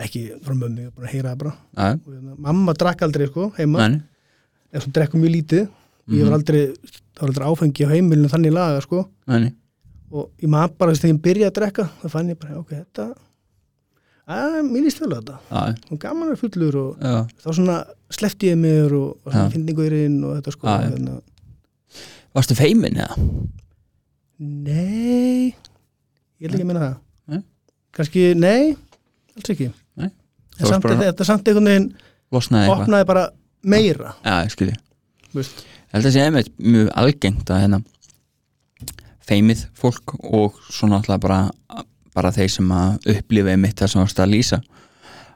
[SPEAKER 2] ekki frá mömmu, ég er búin að heyra það bara
[SPEAKER 1] já,
[SPEAKER 2] og, hérna, mamma drakk aldrei sko heima
[SPEAKER 1] næni
[SPEAKER 2] ef hún drekkur mjög lítið ég var aldrei, það var aldrei áfengi á heimilinu þannig laga sko
[SPEAKER 1] Nei,
[SPEAKER 2] og ég maður bara þess að þegar ég byrjaði að drekka þá fann ég bara, ok, þetta að, mér líst vel á þetta
[SPEAKER 1] já,
[SPEAKER 2] og gaman er fullur og
[SPEAKER 1] já.
[SPEAKER 2] þá svona slefti ég mér og, og svona
[SPEAKER 1] Já. Ah,
[SPEAKER 2] finninguðurinn og þetta sko
[SPEAKER 1] Já, já.
[SPEAKER 2] hérna.
[SPEAKER 1] Varstu feimin eða?
[SPEAKER 2] nei ég ætla ekki að minna það
[SPEAKER 1] Nei.
[SPEAKER 2] kannski, nei, alls ekki
[SPEAKER 1] Nei. Þú
[SPEAKER 2] en
[SPEAKER 1] varst
[SPEAKER 2] samt
[SPEAKER 1] bara-
[SPEAKER 2] bara... þetta samt einhvern veginn
[SPEAKER 1] Losnaði eitthvað?
[SPEAKER 2] opnaði bara meira
[SPEAKER 1] Já, ég skilji.
[SPEAKER 2] veist.
[SPEAKER 1] Ég held að sé einmitt mjög algengt að hérna feimið fólk og svona alltaf bara, bara þeir sem að upplifa einmitt það sem varst að lýsa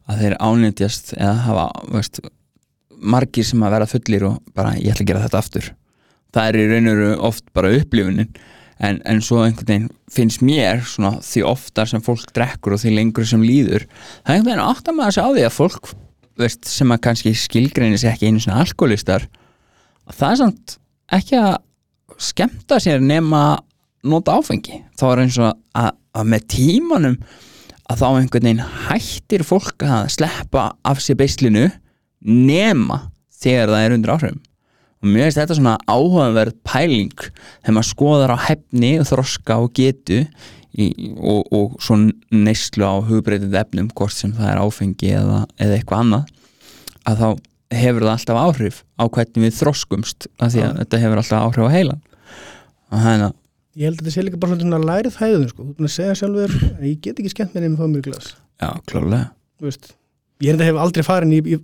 [SPEAKER 1] að þeir ánýtjast eða hafa, veist, margir sem að vera fullir og bara ég ætla að gera þetta aftur. Það er í raun og veru oft bara upplifunin en, en svo einhvern veginn finnst mér svona því oftar sem fólk drekkur og því lengur sem líður, það er einhvern veginn áttar maður sig á því að fólk veist, sem að kannski skilgreinir sig ekki einu svona alkoholistar að það er samt ekki að skemmta sér nema að nota áfengi þá er eins og að, að með tímanum að þá einhvern veginn hættir fólk að sleppa af sér beislinu nema þegar það er undir áhrifum og mér finnst þetta svona áhugaverð pæling þegar maður skoðar á hefni og þroska og getu í, og, og svo neyslu á hugbreytið efnum hvort sem það er áfengi eða, eða eitthvað annað að þá hefur það alltaf áhrif á hvernig við þroskumst af því að
[SPEAKER 2] Já.
[SPEAKER 1] þetta hefur alltaf áhrif á heilan og hérna,
[SPEAKER 2] ég held að þetta sé líka bara svolítið svona lærið hæðun sko. þú ert búin að segja sjálfur, en ég get ekki skemmt mér nefnir fá mér í glas
[SPEAKER 1] já, klálega
[SPEAKER 2] Þú veist, ég er þetta hef aldrei farin í, í,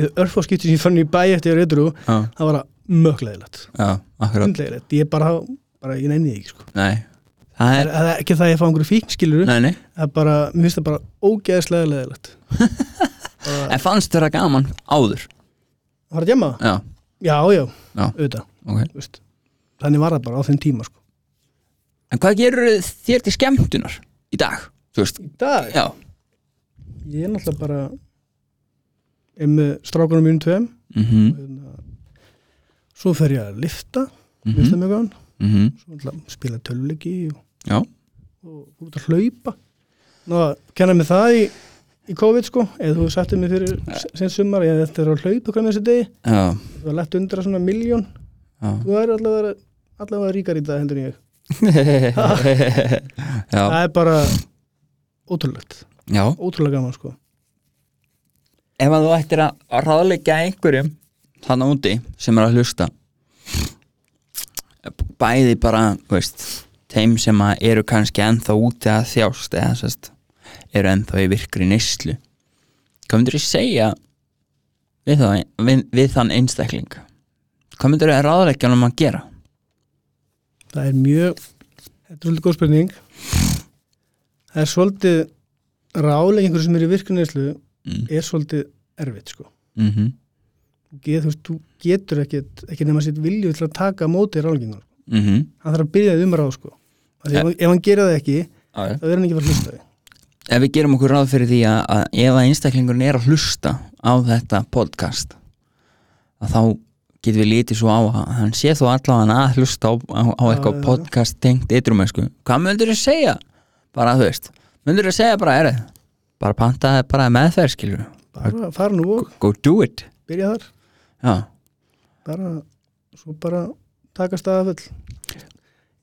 [SPEAKER 2] í örfóskipti sem ég fann í bæ eftir ég er ytrú,
[SPEAKER 1] já,
[SPEAKER 2] það var mögleðilegt
[SPEAKER 1] já, akkurat,
[SPEAKER 2] hundlegilegt, ég bara, bara ég nenni því ekki sko.
[SPEAKER 1] nei það
[SPEAKER 2] það
[SPEAKER 1] er,
[SPEAKER 2] er það er ekki það að ég fá einhverju fíknskilur
[SPEAKER 1] nei, nei
[SPEAKER 2] það er bara, mér finnst það bara ógeðslega leðilegt
[SPEAKER 1] en fannst þér það gaman áður
[SPEAKER 2] var það djama?
[SPEAKER 1] já,
[SPEAKER 2] Já, já,
[SPEAKER 1] Já.
[SPEAKER 2] auðvitað
[SPEAKER 1] ok,
[SPEAKER 2] þú veist. þannig var það bara á þeim tíma sko.
[SPEAKER 1] en hvað gerur þér til skemmtunar í dag, þú veist
[SPEAKER 2] í dag,
[SPEAKER 1] já,
[SPEAKER 2] ég er náttúrulega bara er með strákunum mínum tveim
[SPEAKER 1] mhm,
[SPEAKER 2] hérna, svo fer ég að lifta mér
[SPEAKER 1] mhm
[SPEAKER 2] finnst það mjög gaman
[SPEAKER 1] mhm,
[SPEAKER 2] svo náttúrulega spila töluleiki og
[SPEAKER 1] já,
[SPEAKER 2] og fór út að hlaupa Ná, kenna mig það í, í COVID sko, eða þú sættir mig fyrir sen sumar, ég þetta er að hlaupa hvernig þessi degi,
[SPEAKER 1] já,
[SPEAKER 2] þú er lett undra svona miljón,
[SPEAKER 1] já
[SPEAKER 2] þú er allavega allavega ríkar í dag heldur en ég
[SPEAKER 1] já,
[SPEAKER 2] það er bara ótrúlegt,
[SPEAKER 1] já
[SPEAKER 2] ótrúlega gaman sko
[SPEAKER 1] ef að þú ættir að ráðleggja einhverjum þannig úti sem er að hlusta bæði bara þú veist, þeim sem að eru kannski ennþá úti að þjást eða sest, eru ennþá í virkri neyslu hvað myndir ég segja við, það, við, við þann einstakling hvað myndir ég ráðleggja um að gera
[SPEAKER 2] það er mjög, þetta er svolítið góð spurning það er svolítið ráleg einhverju sem er í virkunneislu
[SPEAKER 1] mm.
[SPEAKER 2] er svolítið erfitt sko
[SPEAKER 1] Mm -hmm.
[SPEAKER 2] Þú get, þú, veist, þú getur ekkit, ekki nema sitt vilju til að taka á móti rálegingar
[SPEAKER 1] Mm
[SPEAKER 2] hann þarf að byrja þið umráð sko Af því ef, ef hann gerir það ekki, þá er hann ekki að fara að hlusta á því
[SPEAKER 1] ef við gerum okkur ráð fyrir því að, að ef að einstaklingurinn er að hlusta á þetta podcast að þá getum við litið svo á að hann sé þó allavega að hlusta á, á, á
[SPEAKER 2] Já,
[SPEAKER 1] eitthvað
[SPEAKER 2] já, já.
[SPEAKER 1] podcast tengt ytrumessku hvað myndur þú segja bara þú veist myndur þú segja bara er bara pantaði bara meðferð skilur
[SPEAKER 2] bara fara nú og
[SPEAKER 1] go do it
[SPEAKER 2] byrja þar
[SPEAKER 1] já,
[SPEAKER 2] bara, svo bara taka staðafell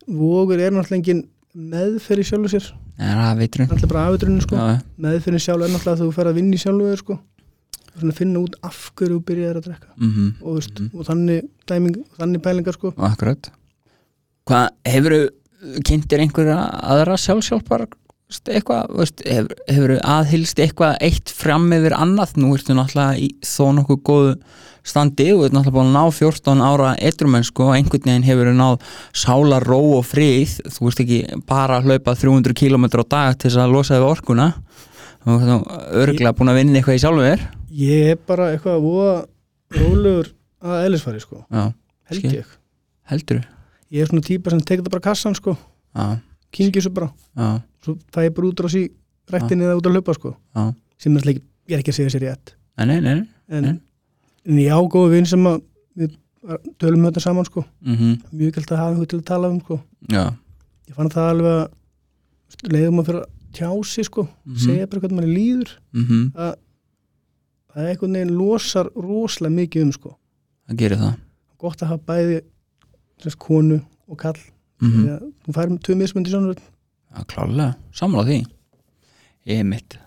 [SPEAKER 2] vogur er náttúrulega engin meðferð í sjálfu sér
[SPEAKER 1] það er aðvitrun
[SPEAKER 2] náttúrulega bara afitrunni sko,
[SPEAKER 1] já,
[SPEAKER 2] meðferðin sjálf er náttúrulega að þú fer að vinna í sjálfu þér sko Og svona finna út af hverju þú byrjaðir að drekka
[SPEAKER 1] mm
[SPEAKER 2] og, þú veist, og þannig dæming, og þannig pælingar sko
[SPEAKER 1] akkurat hvað hefur þú kynntir einhverja aðra sjálfsjálfar veist, eitthvað, þú veist, hefur, hefur aðhylst eitthvað eitt fram yfir annað nú ertu náttúrulega í þó nokkuð góðu standi og ertu náttúrulega búin að ná 14 ára eitrumennsku og einhvern veginn hefur náð sála ró og frið þú veist ekki bara að hlaupa 300 km á dag til þess að losa yfir orkuna þú veist örglega búin að vinna eitthvað í sjálfum þér
[SPEAKER 2] Ég er bara eitthvað að voða rólegur að eðlisfari sko,
[SPEAKER 1] já,
[SPEAKER 2] held
[SPEAKER 1] Skil.
[SPEAKER 2] ég
[SPEAKER 1] heldur
[SPEAKER 2] Ég er svona típa sem tekur það bara kassan sko
[SPEAKER 1] já,
[SPEAKER 2] kingi þessu bara,
[SPEAKER 1] já,
[SPEAKER 2] svo það er bara útrás í rættinni eða út að hlaupa sko
[SPEAKER 1] já
[SPEAKER 2] sem er ekki, ég er ekki að segja sér rétt
[SPEAKER 1] nei, nei, nei,
[SPEAKER 2] en,
[SPEAKER 1] En?
[SPEAKER 2] en ég ágóðu vinn sem að við tölum þetta saman sko
[SPEAKER 1] mm
[SPEAKER 2] mjög gælt að hafa einhver til að tala um sko
[SPEAKER 1] já
[SPEAKER 2] ég fann það alveg að leiðum að fyrir að tjá sig sko
[SPEAKER 1] Mhm.
[SPEAKER 2] segja bara hvernig mann líður
[SPEAKER 1] mm
[SPEAKER 2] að það er einhvern veginn losar rosalega mikið um sko
[SPEAKER 1] það gerir það
[SPEAKER 2] gott að hafa bæði sérst, konu og kall
[SPEAKER 1] mm
[SPEAKER 2] mm. þú færir með tvö mismöndi sjónur
[SPEAKER 1] Já, klálega, sammála því Ég er mitt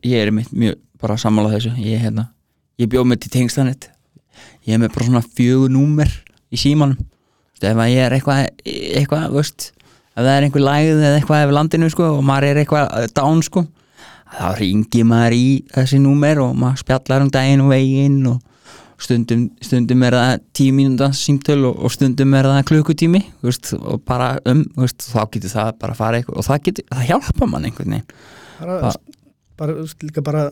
[SPEAKER 1] Ég er mitt mjög bara sammála þessu Ég, er hérna, ég bjóð mig til tengstanett Ég er með bara svona fjögur númer í símanum Þú veist, Ef að ég er eitthvað, eitthvað þú veist, ef það er einhver lægð eða eitthvað yfir landinu sko, og maður er eitthvað eh, dán sko, þá ringi maður í þessi númer og maður spjallar um daginn og veginn og stundum, stundum er það tíu mínúnda símtöl og, og stundum er það klukkutími þú veist, og bara um, þú veist, þá getur það bara að fara eitthvað og það, getur, það hjálpa mann einhvern veginn
[SPEAKER 2] bara,
[SPEAKER 1] Ba-
[SPEAKER 2] bara, þú veist, líka bara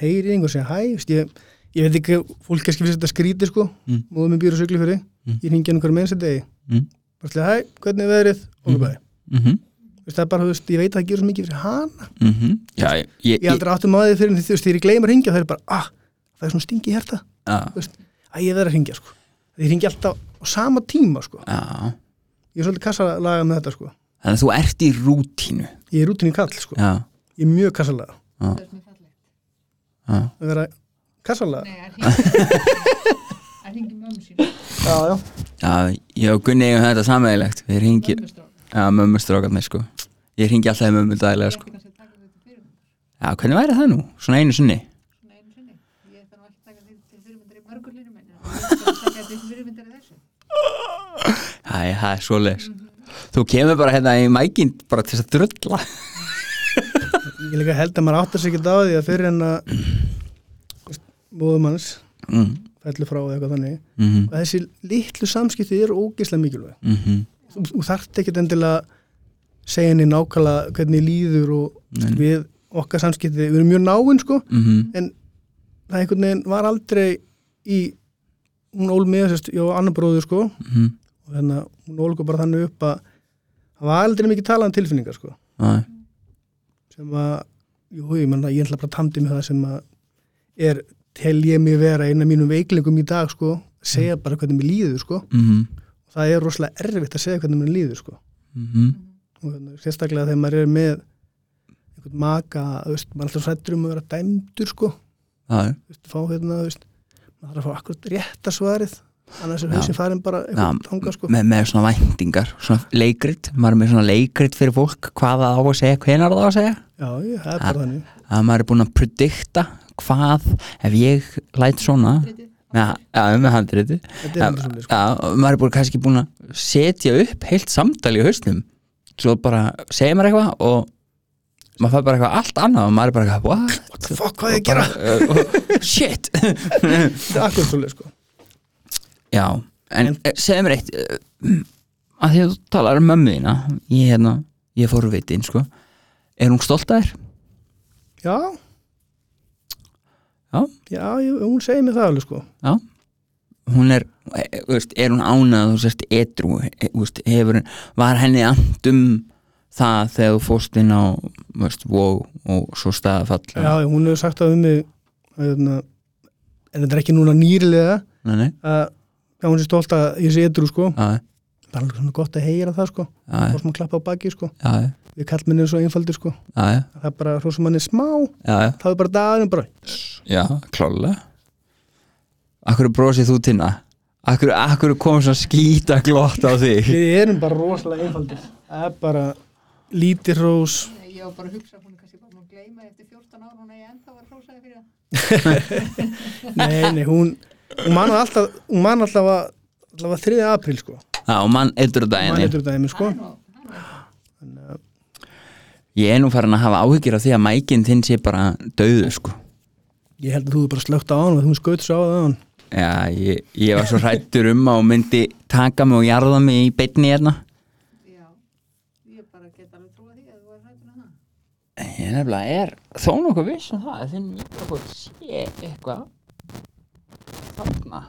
[SPEAKER 2] heyri einhver segja hæ þú veist, ég, ég veit ekki, fólk kannski fyrir þetta skríti sko
[SPEAKER 1] Mm.
[SPEAKER 2] móðum við býr og syklu fyrir
[SPEAKER 1] Mm.
[SPEAKER 2] ég ringi hann einhver meins að degi
[SPEAKER 1] Mm.
[SPEAKER 2] bara til hæ, hvernig er veðrið og
[SPEAKER 1] Mm.
[SPEAKER 2] mm.
[SPEAKER 1] mm -hmm.
[SPEAKER 2] Veist, það er bara, þú veist, ég veit að það gerur svo mikið fyrir hana
[SPEAKER 1] Mm -hmm. Já, ég, ég,
[SPEAKER 2] ég
[SPEAKER 1] ég,
[SPEAKER 2] aldrei áttum á því fyrir en þú veist, þegar ég gleymar hringja það er bara, ah, það er svona stingi hérta
[SPEAKER 1] já,
[SPEAKER 2] að ég verð að hringja sko ég hringi alltaf á sama tíma sko
[SPEAKER 1] já.
[SPEAKER 2] ég er svolítið kassalaga með þetta sko
[SPEAKER 1] Þannig að þú ert í rútínu
[SPEAKER 2] ég er útin í kall sko,
[SPEAKER 1] Já,
[SPEAKER 2] ég er mjög kassalaga
[SPEAKER 3] það er mjög fallegt.
[SPEAKER 1] já,
[SPEAKER 2] að vera kassalaga
[SPEAKER 3] Nei, að hringi að hringi mömmu sín
[SPEAKER 2] já, já.
[SPEAKER 1] já Ég og Gunni eigum þetta sammeðilegt Við ringjum,
[SPEAKER 3] mömmustrók
[SPEAKER 1] já, mömmustrákarnir sko Ég ringi alltaf í mömmu daglega sko Já, hvernig væri það nú? Svona einu sinni
[SPEAKER 3] Ég ætla nú ekki að taka þig til fyrirmyndar í mörgu hlýrum en ég ætla að taka þig til fyrirmyndar í þessu.
[SPEAKER 1] Æ, það er svoleiðis Þú kemur bara hérna í mækinn bara til þess að drulla
[SPEAKER 2] ég líka held að maður áttar sig ekki á því að fyrir en að móðum hans
[SPEAKER 1] mm.
[SPEAKER 2] fellur frá eða eitthvað þannig
[SPEAKER 1] Mm -hmm.
[SPEAKER 2] og þessi litlu samskipti eru ógeðslega mikilvæg
[SPEAKER 1] Mm -hmm.
[SPEAKER 2] þú, þú þarft ekkert endilega segja henni nákvæmlega hvernig líður og
[SPEAKER 1] Nei.
[SPEAKER 2] við okkar samskipti við erum mjög náinn sko
[SPEAKER 1] Mm
[SPEAKER 2] en það einhvern veginn var aldrei í hún ól með sérst, ég á annan bróður sko
[SPEAKER 1] Mhm.
[SPEAKER 2] og þannig að hún ól okkur bara þannig upp að það var aldrei mikið talað um tilfinningar sko
[SPEAKER 1] Nei,
[SPEAKER 2] sem að, jú, ég menna, ég ætla bara tamdi með það sem að er, tel ég mig vera eina af mínum veikleikum í dag sko, segja
[SPEAKER 1] Mm.
[SPEAKER 2] bara hvernig mér líður sko,
[SPEAKER 1] mhm,
[SPEAKER 2] og það er rosalega erfitt að segja hvernig mér líður sko,
[SPEAKER 1] mhm,
[SPEAKER 2] og þannig, sérstaklega þegar maður er með einhvern maka, þú veist, maður er alltaf sættur um að vera dæmdur sko,
[SPEAKER 1] það er
[SPEAKER 2] þú veist, fá hérna, þú veist, maður þarf að fá akkurat rétta svarið, annars er
[SPEAKER 1] Já.
[SPEAKER 2] hausin farin bara
[SPEAKER 1] Já,
[SPEAKER 2] eitthvað þangað sko,
[SPEAKER 1] með, með svona væntingar, svona leikrit maður er með svona leikrit fyrir fólk hvað það á að segja, hvenær það á að segja
[SPEAKER 2] já, ég, það er bara þannig,
[SPEAKER 1] að maður er búin að predikta hvað ef ég læt svona með, ja, með handriti
[SPEAKER 2] þetta er
[SPEAKER 1] ja,
[SPEAKER 2] alveg svolítið sko,
[SPEAKER 1] ja, og maður er búin kannski búin að setja upp heilt samtal í hausnum svo bara segir maður eitthvað og maður fær bara eitthvað allt annað og maður er bara eitthvað what,
[SPEAKER 2] what the fuck, hvað er ég að gera,
[SPEAKER 1] uh, shit
[SPEAKER 2] þetta er akkurat svolítið sko,
[SPEAKER 1] Já, en, en segðu mér eitt eh, að því að þú talar um mömmu þína ég hérna, ég fór vitinn sko er hún stolt að þér?
[SPEAKER 2] já,
[SPEAKER 1] Já,
[SPEAKER 2] já, ég, hún segir mér það alveg sko,
[SPEAKER 1] já hún er, eh, þú veist, er hún ánað að þú sérst edru, eh, þú veist, hefur var henni ant um það þegar þú fórst inn á þú veist, wow, og svo staðafall
[SPEAKER 2] Já, hún hefur sagt það um mig hérna, en þetta er ekki núna nýrilega
[SPEAKER 1] nei, nei,
[SPEAKER 2] að já, hún sé stolt að ég sé eitthvað sko
[SPEAKER 1] já,
[SPEAKER 2] það er alveg svona gott að heyra það sko og
[SPEAKER 1] já, já,
[SPEAKER 2] sem að klappa á baki sko
[SPEAKER 1] já,
[SPEAKER 2] við kallmenni er svo einfaldir sko
[SPEAKER 1] já,
[SPEAKER 2] það er bara svo sem hann er smá
[SPEAKER 1] já, já,
[SPEAKER 2] það er bara dagurinn bara
[SPEAKER 1] já klálega Akkur brosið þú tinna? Akkur, akkur kom svona skýta glott á þig?
[SPEAKER 2] við erum bara rosalega einfaldir það er bara lítið rós
[SPEAKER 3] Nei, Ég var bara að hugsa að hún er kannski bara búin að gleyma því eftir 14 ára hún er ég ennþá að hrósa þig fyrir það.
[SPEAKER 2] nei, nei, hún, hún man alltaf hún man alltaf að allavega 3. apríl sko
[SPEAKER 1] Já, og mann eitur
[SPEAKER 2] man
[SPEAKER 1] daginn
[SPEAKER 2] eitthvað dæmi sko
[SPEAKER 3] Það er nú- það er nú-
[SPEAKER 2] Þannig að-
[SPEAKER 1] ég er nú farin að hafa áhyggjur af því að mækinn þinn sé bara döðu sko.
[SPEAKER 2] Ég held að þú er bara slögt á hann og þú skaut svo á það
[SPEAKER 1] Já, ég, ég var svo hrættur um að hún myndi taka mig og jarða mig í beinni hérna
[SPEAKER 3] já, ég bara get alveg trúa því að þú er hættur að það
[SPEAKER 1] Ég nefnilega er þó nokkuð viss um það að þinn mikrofótt sé eitthvað þarna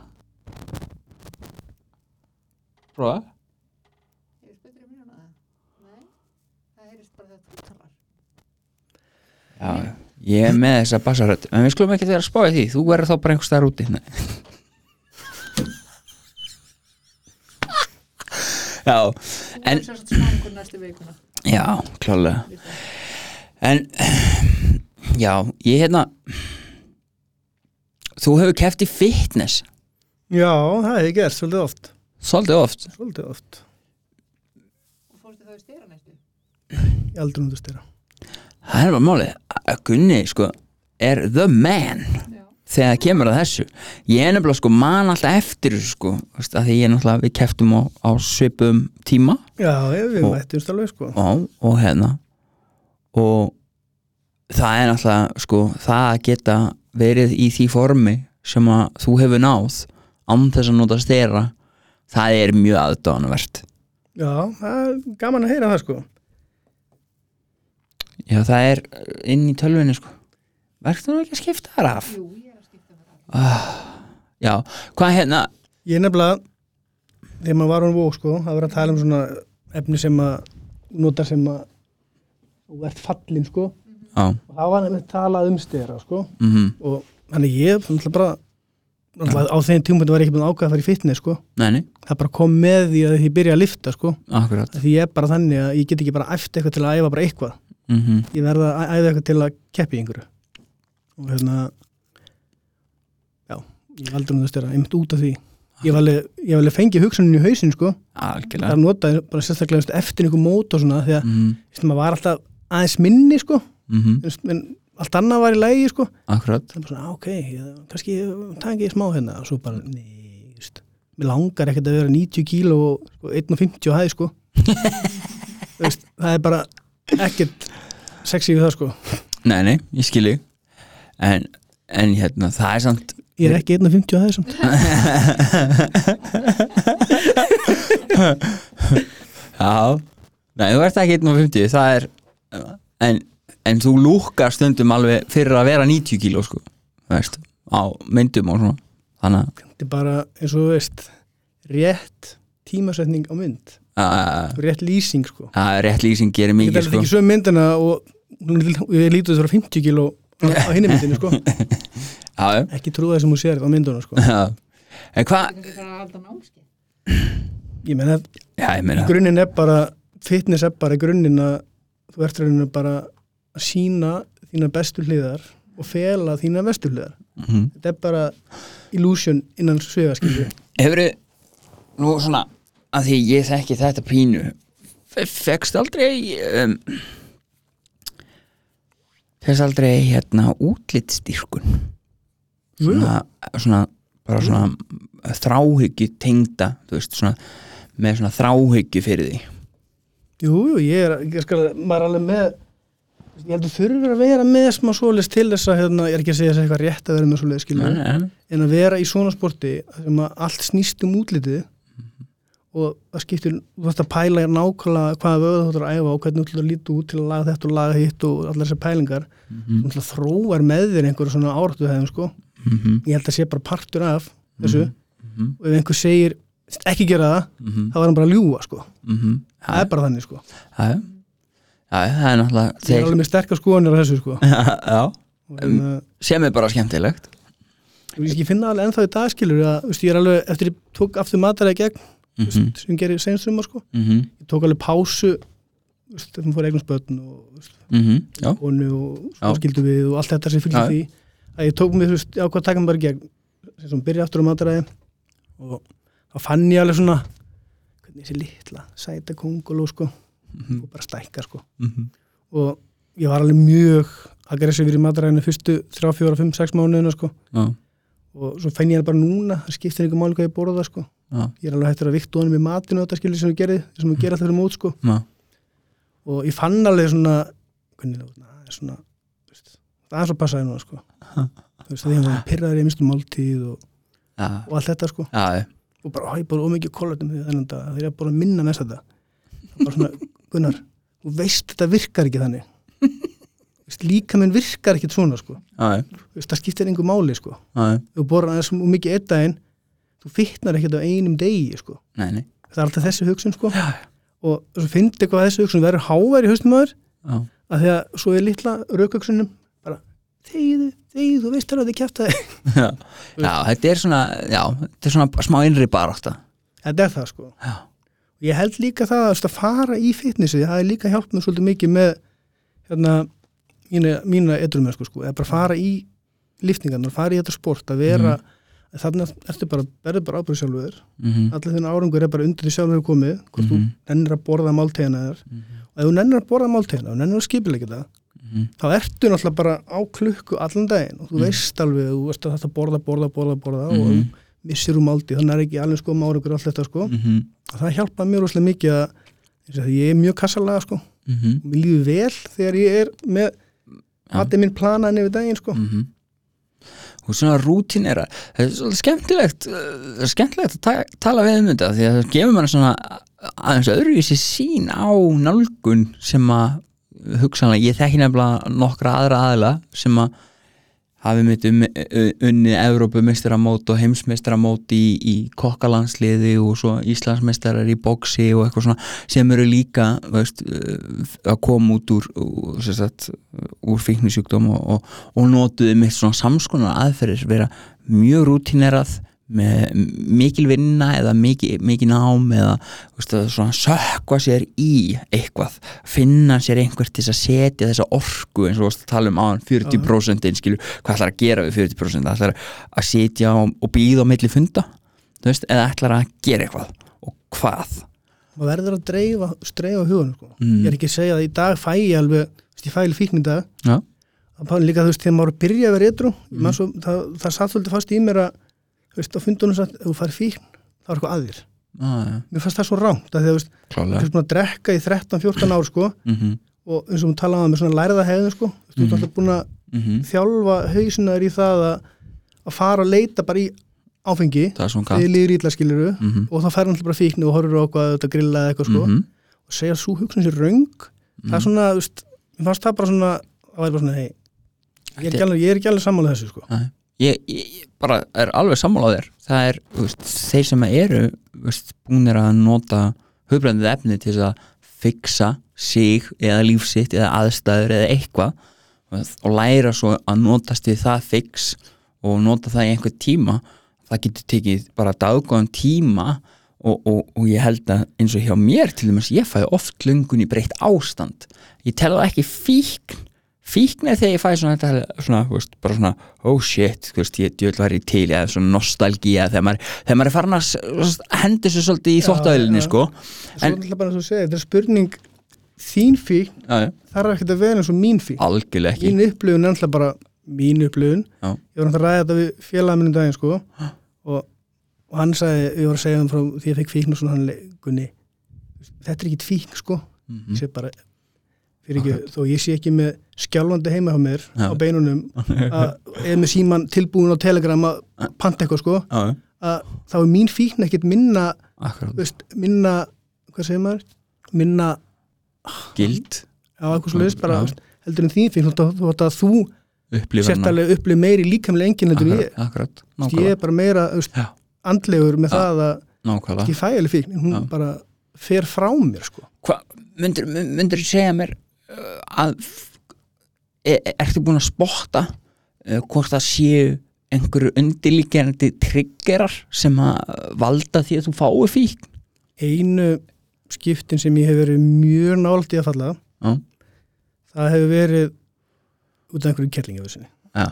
[SPEAKER 1] Prófa
[SPEAKER 3] heyrðist betur í mínuna um það nei, það heyrðist bara þegar þú talar
[SPEAKER 1] Já, ég er með þessa bassarödd en við skulum ekki þegar að spáði því, þú verður þá bara einhvers staðar úti Nei. Já,
[SPEAKER 3] þú
[SPEAKER 1] En-
[SPEAKER 3] er sem sagt svangur næstu vikuna
[SPEAKER 1] já, klálega
[SPEAKER 3] líka.
[SPEAKER 1] En, já, ég hérna Þú hefur keft í fitness
[SPEAKER 2] Já, það hefði gert svolítið oft
[SPEAKER 1] Svolítið oft
[SPEAKER 2] Svolítið oft
[SPEAKER 3] og fórstu þá í stýra næstu
[SPEAKER 2] Ég aldrei núttu styrra
[SPEAKER 1] Það er bara málið að Gunni, sko, er the man
[SPEAKER 3] já,
[SPEAKER 1] þegar það kemur að þessu ég er nefnilega sko man alltaf eftir þessu, sko, veist, að því ég er náttúrulega við keftum á, á svipum tíma
[SPEAKER 2] Já, ég, við
[SPEAKER 1] Og-
[SPEAKER 2] mættumst alveg sko
[SPEAKER 1] og, og hérna og það er náttúrulega sko, það að geta verið í því formi sem að þú hefur náð án þess að nota stera það er mjög aðdánuvert
[SPEAKER 2] Já, það er gaman að heyra það sko
[SPEAKER 1] já það er eh, inn í tölvinni sko verður þú ekki að skipta þar af Ah,
[SPEAKER 3] jú, ég er að skipta með það
[SPEAKER 1] já, hvað hérna
[SPEAKER 2] Ég nefnilega þegar maður var hún vó sko að vera að tala um svona efni sem að nota sem að þú ert fallin sko og
[SPEAKER 1] já,
[SPEAKER 2] það var nefnilega talað um styrra sko
[SPEAKER 1] mhm
[SPEAKER 2] og þannig ég náttúrulega bara náttúrulega á þeim tímpundi var ég ekki búin að ákveða að fara í fitness sko
[SPEAKER 1] neini,
[SPEAKER 2] það bara kom með því að ég byrja að lifta sko
[SPEAKER 1] akkurat
[SPEAKER 2] því ég er bara þannig að ég get ekki bara æft eitthvað til að æfa bara eitthvað
[SPEAKER 1] mhm
[SPEAKER 2] ég verða að æfa eitthvað til að keppi einhverju og hérna já, ég valdur um það styrra einmitt út af því ég var alveg, ég var alveg fengið hugsunin í hausin sko það
[SPEAKER 1] algjörlega
[SPEAKER 2] er notað bara sérstaklega þú veist, eftir einhver mót og svona því að
[SPEAKER 1] mhm,
[SPEAKER 2] mm. maður var alltaf aðeins minni sko
[SPEAKER 1] mhm,
[SPEAKER 2] þú veist, en allt annað var í lægi sko
[SPEAKER 1] akkurat
[SPEAKER 2] það er bara svona, "Ah, ok, ég, kannski takk ég smá hérna og svo bara,
[SPEAKER 1] Mm.
[SPEAKER 2] nei, just, mér langar ekkert að vera 90 kíl og sko, 1,50 hæði sko Þú veist, það er bara ekkert sexy við það sko
[SPEAKER 1] nei, nei, ég skil ég en, en hérna, það er samt
[SPEAKER 2] ég er ekki 1,50 hæði samt
[SPEAKER 1] já, nei, þú ert ekki 1.50 það er, en en þú lúkar stundum alveg fyrir að vera 90 kíló, sko, þú veist á myndum og svona þannig
[SPEAKER 2] þetta er bara, eins og þú veist rétt tímasetning á mynd
[SPEAKER 1] að
[SPEAKER 2] og rétt lýsing sko
[SPEAKER 1] það er rétt lýsing gerir
[SPEAKER 2] ég get
[SPEAKER 1] mikið,
[SPEAKER 2] alveg
[SPEAKER 1] sko
[SPEAKER 2] ekki sögum myndina og hún er- ég lítið þess að vera 50 kíl á hinni myndinu sko
[SPEAKER 1] já,
[SPEAKER 2] ekki trúða þess að hún sér á myndunum sko
[SPEAKER 1] já, en hvað
[SPEAKER 3] það er að halda námskeið
[SPEAKER 2] ég meina að
[SPEAKER 1] já, ég meina,
[SPEAKER 2] grunninn er bara fitness er bara í grunninn að þú ert rauninni bara að sína þína bestu hliðar og fela þína vestu hliðar
[SPEAKER 1] Mhm.
[SPEAKER 2] þetta er bara illusion innan svegaskilju
[SPEAKER 1] hefur nú svona, að því ég þekki þetta pínu fegst aldrei um, fegst aldrei hérna útlitstýrkun svona, svona bara svona þráhyggju tengda þú veist, svona, með svona þráhyggju fyrir því
[SPEAKER 2] jú, jú, ég er, ég skal, maður er alveg með ég held að þurfur að vera með smá svoleiðis til þess að, hérna, ég er ekki að segja þess að eitthvað rétt að vera með svoleiðis skilju en að vera í svona sporti sem að allt snýst um útlitið
[SPEAKER 1] Mhm.
[SPEAKER 2] og það skiptir þú þarft að pæla nákvæmlega hvaða vöðu þú ætlar að æfa og hvernig þú ætlar að líta út til að laga þetta og laga hitt og allar þessar pælingar þú ætlar að þróar með þér einhverju svona áratu þeim sko,
[SPEAKER 1] Mhm,
[SPEAKER 2] ég held að sé bara partur af þessu
[SPEAKER 1] mhm,
[SPEAKER 2] og ef einhver segir ekki gera það,
[SPEAKER 1] mhm,
[SPEAKER 2] þá er hann bara að ljúga sko,
[SPEAKER 1] mhm.
[SPEAKER 2] það
[SPEAKER 1] Já,
[SPEAKER 2] er bara þannig sko
[SPEAKER 1] já, já, það er náttúrulega
[SPEAKER 2] ég er
[SPEAKER 1] þeir
[SPEAKER 2] alveg með sterkar skoðanir á þessu sko
[SPEAKER 1] já,
[SPEAKER 2] og hérna,
[SPEAKER 1] sem er bara skemmtilegt
[SPEAKER 2] þú veist, ég finna alveg ennþá í dagskilur að, þú veist, ég er alveg, eftir ég tók aftur matalega gegn, þú
[SPEAKER 1] Mhm.
[SPEAKER 2] veist, sem gerir seinströmmar sko
[SPEAKER 1] mhm,
[SPEAKER 2] ég tók alveg pásu þú veist, þegar maður fór eignum spötn og þú veist,
[SPEAKER 1] mhm, já,
[SPEAKER 2] konu og
[SPEAKER 1] Já.
[SPEAKER 2] skildu við og allt þetta sem fylgir
[SPEAKER 1] Já.
[SPEAKER 2] því að ég tók mér, þú veist, ákvað að taka mér bara í gegn sem svona byrja aftur á mataræði og þá fann ég alveg svona hvernig þessi litla, sæta konguló sko,
[SPEAKER 1] mhm,
[SPEAKER 2] og bara stækka sko
[SPEAKER 1] mhm,
[SPEAKER 2] og ég var alveg mjög aggressífur í mataræðinu fyrstu 3, 4, 5, 6 mánuðina sko
[SPEAKER 1] já,
[SPEAKER 2] og svo fenn ég hann bara núna, það skiptir einhver máli hvað ég borða sko,
[SPEAKER 1] já,
[SPEAKER 2] ég er alveg hættur að vikta honum í matinu og þetta skilur sem ég gerði, sem ég gerði alltaf fyrir mót sko
[SPEAKER 1] já
[SPEAKER 2] og ég fann alveg svona Gunni Lóð, na, það er svona þú veist, það er svo passaði núna sko þú veist, því hann var pyrraður í mistum máltíð og,
[SPEAKER 1] já,
[SPEAKER 2] og allt þetta sko
[SPEAKER 1] já, já,
[SPEAKER 2] og bara, hæ, bara ómikið kólatum því þennan dag þegar ég bara að minna næst þetta Það er bara svona, Gunnar, þú veist þetta virkar ekki þannig Þú veist, líka minn virkar ekki svona sko
[SPEAKER 1] já, já,
[SPEAKER 2] Þú veist, það skiptir engu máli sko
[SPEAKER 1] já, já.
[SPEAKER 2] þú borðar aðeins og mikið einn daginn þú fitnar ekkert á einum degi sko.
[SPEAKER 1] nei, nei
[SPEAKER 2] það er alltaf þessi hugsun sko. og svo finnst eitthvað að þessi hugsun verður hávær í haustum aður
[SPEAKER 1] já,
[SPEAKER 2] að því að svo er litla raukaksunum bara þegiðu, þegiðu, þú veist alveg að þið kjæfta
[SPEAKER 1] já, já, þetta er svona já, þetta er svona smá innri barátta
[SPEAKER 2] þetta er það sko
[SPEAKER 1] já,
[SPEAKER 2] ég held líka það að, þú veist, að fara í fitnessi það er líka hjálp mér svolítið mikið með hérna, mína, mína edrum sko, sko, eða bara fara í lifningarnar, fara í þetta sport að vera, mm. þannig ertu bara, berðu bara ábyrð sjálfur þér
[SPEAKER 1] mhm,
[SPEAKER 2] allir þinn árangur er bara undir því sjálfur hefur komið hvort
[SPEAKER 1] Mhm.
[SPEAKER 2] þú nennir að borða máltegina þér og ef þú nennir að borða máltegina og nennir að skipilegja það
[SPEAKER 1] mhm,
[SPEAKER 2] þá ertu náttúrulega bara á klukku allan daginn og þú veist alveg að þú veist að þetta borða, borða, borða, borða og
[SPEAKER 1] Mhm.
[SPEAKER 2] missir úr máltíð, þannig er ekki alveg sko árangur og allt þetta sko
[SPEAKER 1] mhm,
[SPEAKER 2] og það hjálpaði mér rosalega mikið að eins og því ég er mjög kassalega sko
[SPEAKER 1] mhm,
[SPEAKER 2] mér líður vel þegar ég er með
[SPEAKER 1] Já.
[SPEAKER 2] hattir minn planaðin yfir daginn sko
[SPEAKER 1] mhm og svona rútinera það er svolítið skemmtilegt uh, það er skemmtilegt að ta tala við um þetta því að það gefur mann svona aðeins öðruvísi sín á nálgun sem að hugsanlega ég þekki nefnilega nokkra aðra aðila sem að hafi mitt um, unni Evrópumeistaramót og heimsmeistaramót í, í kokkalandsliði og svo Íslandsmeistarar í boksi og eitthvað svona sem eru líka veist, uh, að koma út úr, úr, sem sagt, úr fíknisjúkdóm og, og, og notuðu mitt svona samskonar aðferðis vera mjög rútinerað með mikil vinna eða mikil, mikil nám eða veist, að svona sökva sér í eitthvað, finna sér einhvert til þess að setja þessa orku eins og þú varst að tala um áðan 40% skilur, hvað ætlar að gera við 40% ætlar að setja og, og býða á milli funda þú veist, eða ætlar að gera eitthvað og hvað
[SPEAKER 2] maður verður að dreifa, streifa hugunum sko
[SPEAKER 1] Mm.
[SPEAKER 2] ég er ekki að segja að í dag fæ ég alveg þú veist, ég fæ alveg fíkn í dag
[SPEAKER 1] já,
[SPEAKER 2] að Páli líka þú veist þegar maður byrja að vera etru
[SPEAKER 1] Mhm.
[SPEAKER 2] mm. svo, það, það satt svolítið fast í mér að þú veist á fundunum satt ef þú fær fíkn þá er eitthvað aðir
[SPEAKER 1] já, Ah, já,
[SPEAKER 2] mér fannst það svo rámt að því að þú veist þú
[SPEAKER 1] klálega
[SPEAKER 2] veist búin að drekka í 13-14 ár sko
[SPEAKER 1] mm -hmm,
[SPEAKER 2] og eins og hún talaði með svona læriða hegðun sko þú
[SPEAKER 1] Mhm.
[SPEAKER 2] veist þú ert alltaf búin að þjálfa hausinar í það að, að fara að leita bara í áfengi
[SPEAKER 1] það er svona
[SPEAKER 2] þegar líður ítla skiliru mm.
[SPEAKER 1] Mhm.
[SPEAKER 2] og þá fær hann alltaf bara fíkn og horfur á hvað þetta grilla eða eitthvað sko
[SPEAKER 1] Mhm,
[SPEAKER 2] og segja að sú hugsun sér röng það er svona, þú veist, mér fannst það bara svona það væri bara svona, hei ég er ekki alveg, ég er ekki alveg sammála þessu sko
[SPEAKER 1] Nei. ég, ég ég bara er alveg sammála á þér það er, þú veist, þeir sem eru þú veist, búnir að nota höfbrendið efni til þess að fixa sig eða lífsitt eða aðstæður eða eitthvað og- og læra svo að notast við það fix og nota það í einhver tíma það getur tekið bara daggóðan tíma og, og, og ég held að eins og hjá mér til dæmis ég fæ oft löngun í breytt ástand ég tel það ekki fíkn fíkn er þegar ég fæ svona, þetta, svona þú veist, bara svona, oh shit þú veist, ég djöld var í til, eða svona nostalgía þegar maður, þegar maður er farin að s- s- hendi sér svolítið í
[SPEAKER 2] Já,
[SPEAKER 1] þóttaðilinni
[SPEAKER 2] já.
[SPEAKER 1] sko.
[SPEAKER 2] en, svo
[SPEAKER 1] En-
[SPEAKER 2] náttúrulega bara eins og þú segir, þetta er spurning þín fíkn
[SPEAKER 1] Já, já,
[SPEAKER 2] þarf ekkert að vera eins og mín fíkn
[SPEAKER 1] algjörlega ekki
[SPEAKER 2] mín upplifun er alltaf bara mín upplifun
[SPEAKER 1] Já.
[SPEAKER 2] ég var náttúrulega að ræða þetta við félagið minn um daginn sko og, og hann sagði, ég var að segja hann frá því ég fekk fíkn og svona hann le- Gunni, þetta er ekki fíkn sko
[SPEAKER 1] Mhm.
[SPEAKER 2] ég sé bara fyrir ekki, þó ég sé ekki með skjálfandi heima hjá mér
[SPEAKER 1] Já.
[SPEAKER 2] á beinunum að eða með síman tilbúin á Telegram að panta eitthvað sko
[SPEAKER 1] Já, já,
[SPEAKER 2] að þá er mín fíkn ekkert minna þú
[SPEAKER 1] akkurat,
[SPEAKER 2] veist, minna, hvað segir maður minna
[SPEAKER 1] gild
[SPEAKER 2] á eitthvað svo leist
[SPEAKER 1] Já.
[SPEAKER 2] bara þú veist, heldur en þín fíkn þú veist, þú, veist að þú
[SPEAKER 1] upplifana
[SPEAKER 2] sérstælega upplif meiri líkamlega enginn heldur en
[SPEAKER 1] akkurat,
[SPEAKER 2] ég
[SPEAKER 1] akkurat,
[SPEAKER 2] Þú veist, ég
[SPEAKER 1] nákvæmlega
[SPEAKER 2] er bara meira þú veist,
[SPEAKER 1] Já,
[SPEAKER 2] andlegur
[SPEAKER 1] Ah,
[SPEAKER 2] með það að
[SPEAKER 1] nákvæmlega
[SPEAKER 2] ég fæ alveg fíkn en hún
[SPEAKER 1] Já.
[SPEAKER 2] bara fer frá mér sko
[SPEAKER 1] Hva, myndir, myndir segja mér uh, að f- e, e- ertu búin að spotta uh, hvort það séu einhverju undirlíkjandi triggerar sem að valda því að þú fái fíkn
[SPEAKER 2] einu skiptin sem ég hef verið mjög nált í að falla
[SPEAKER 1] já,
[SPEAKER 2] það hefur verið út af einhverju kerlingafísinni
[SPEAKER 1] já, Ah.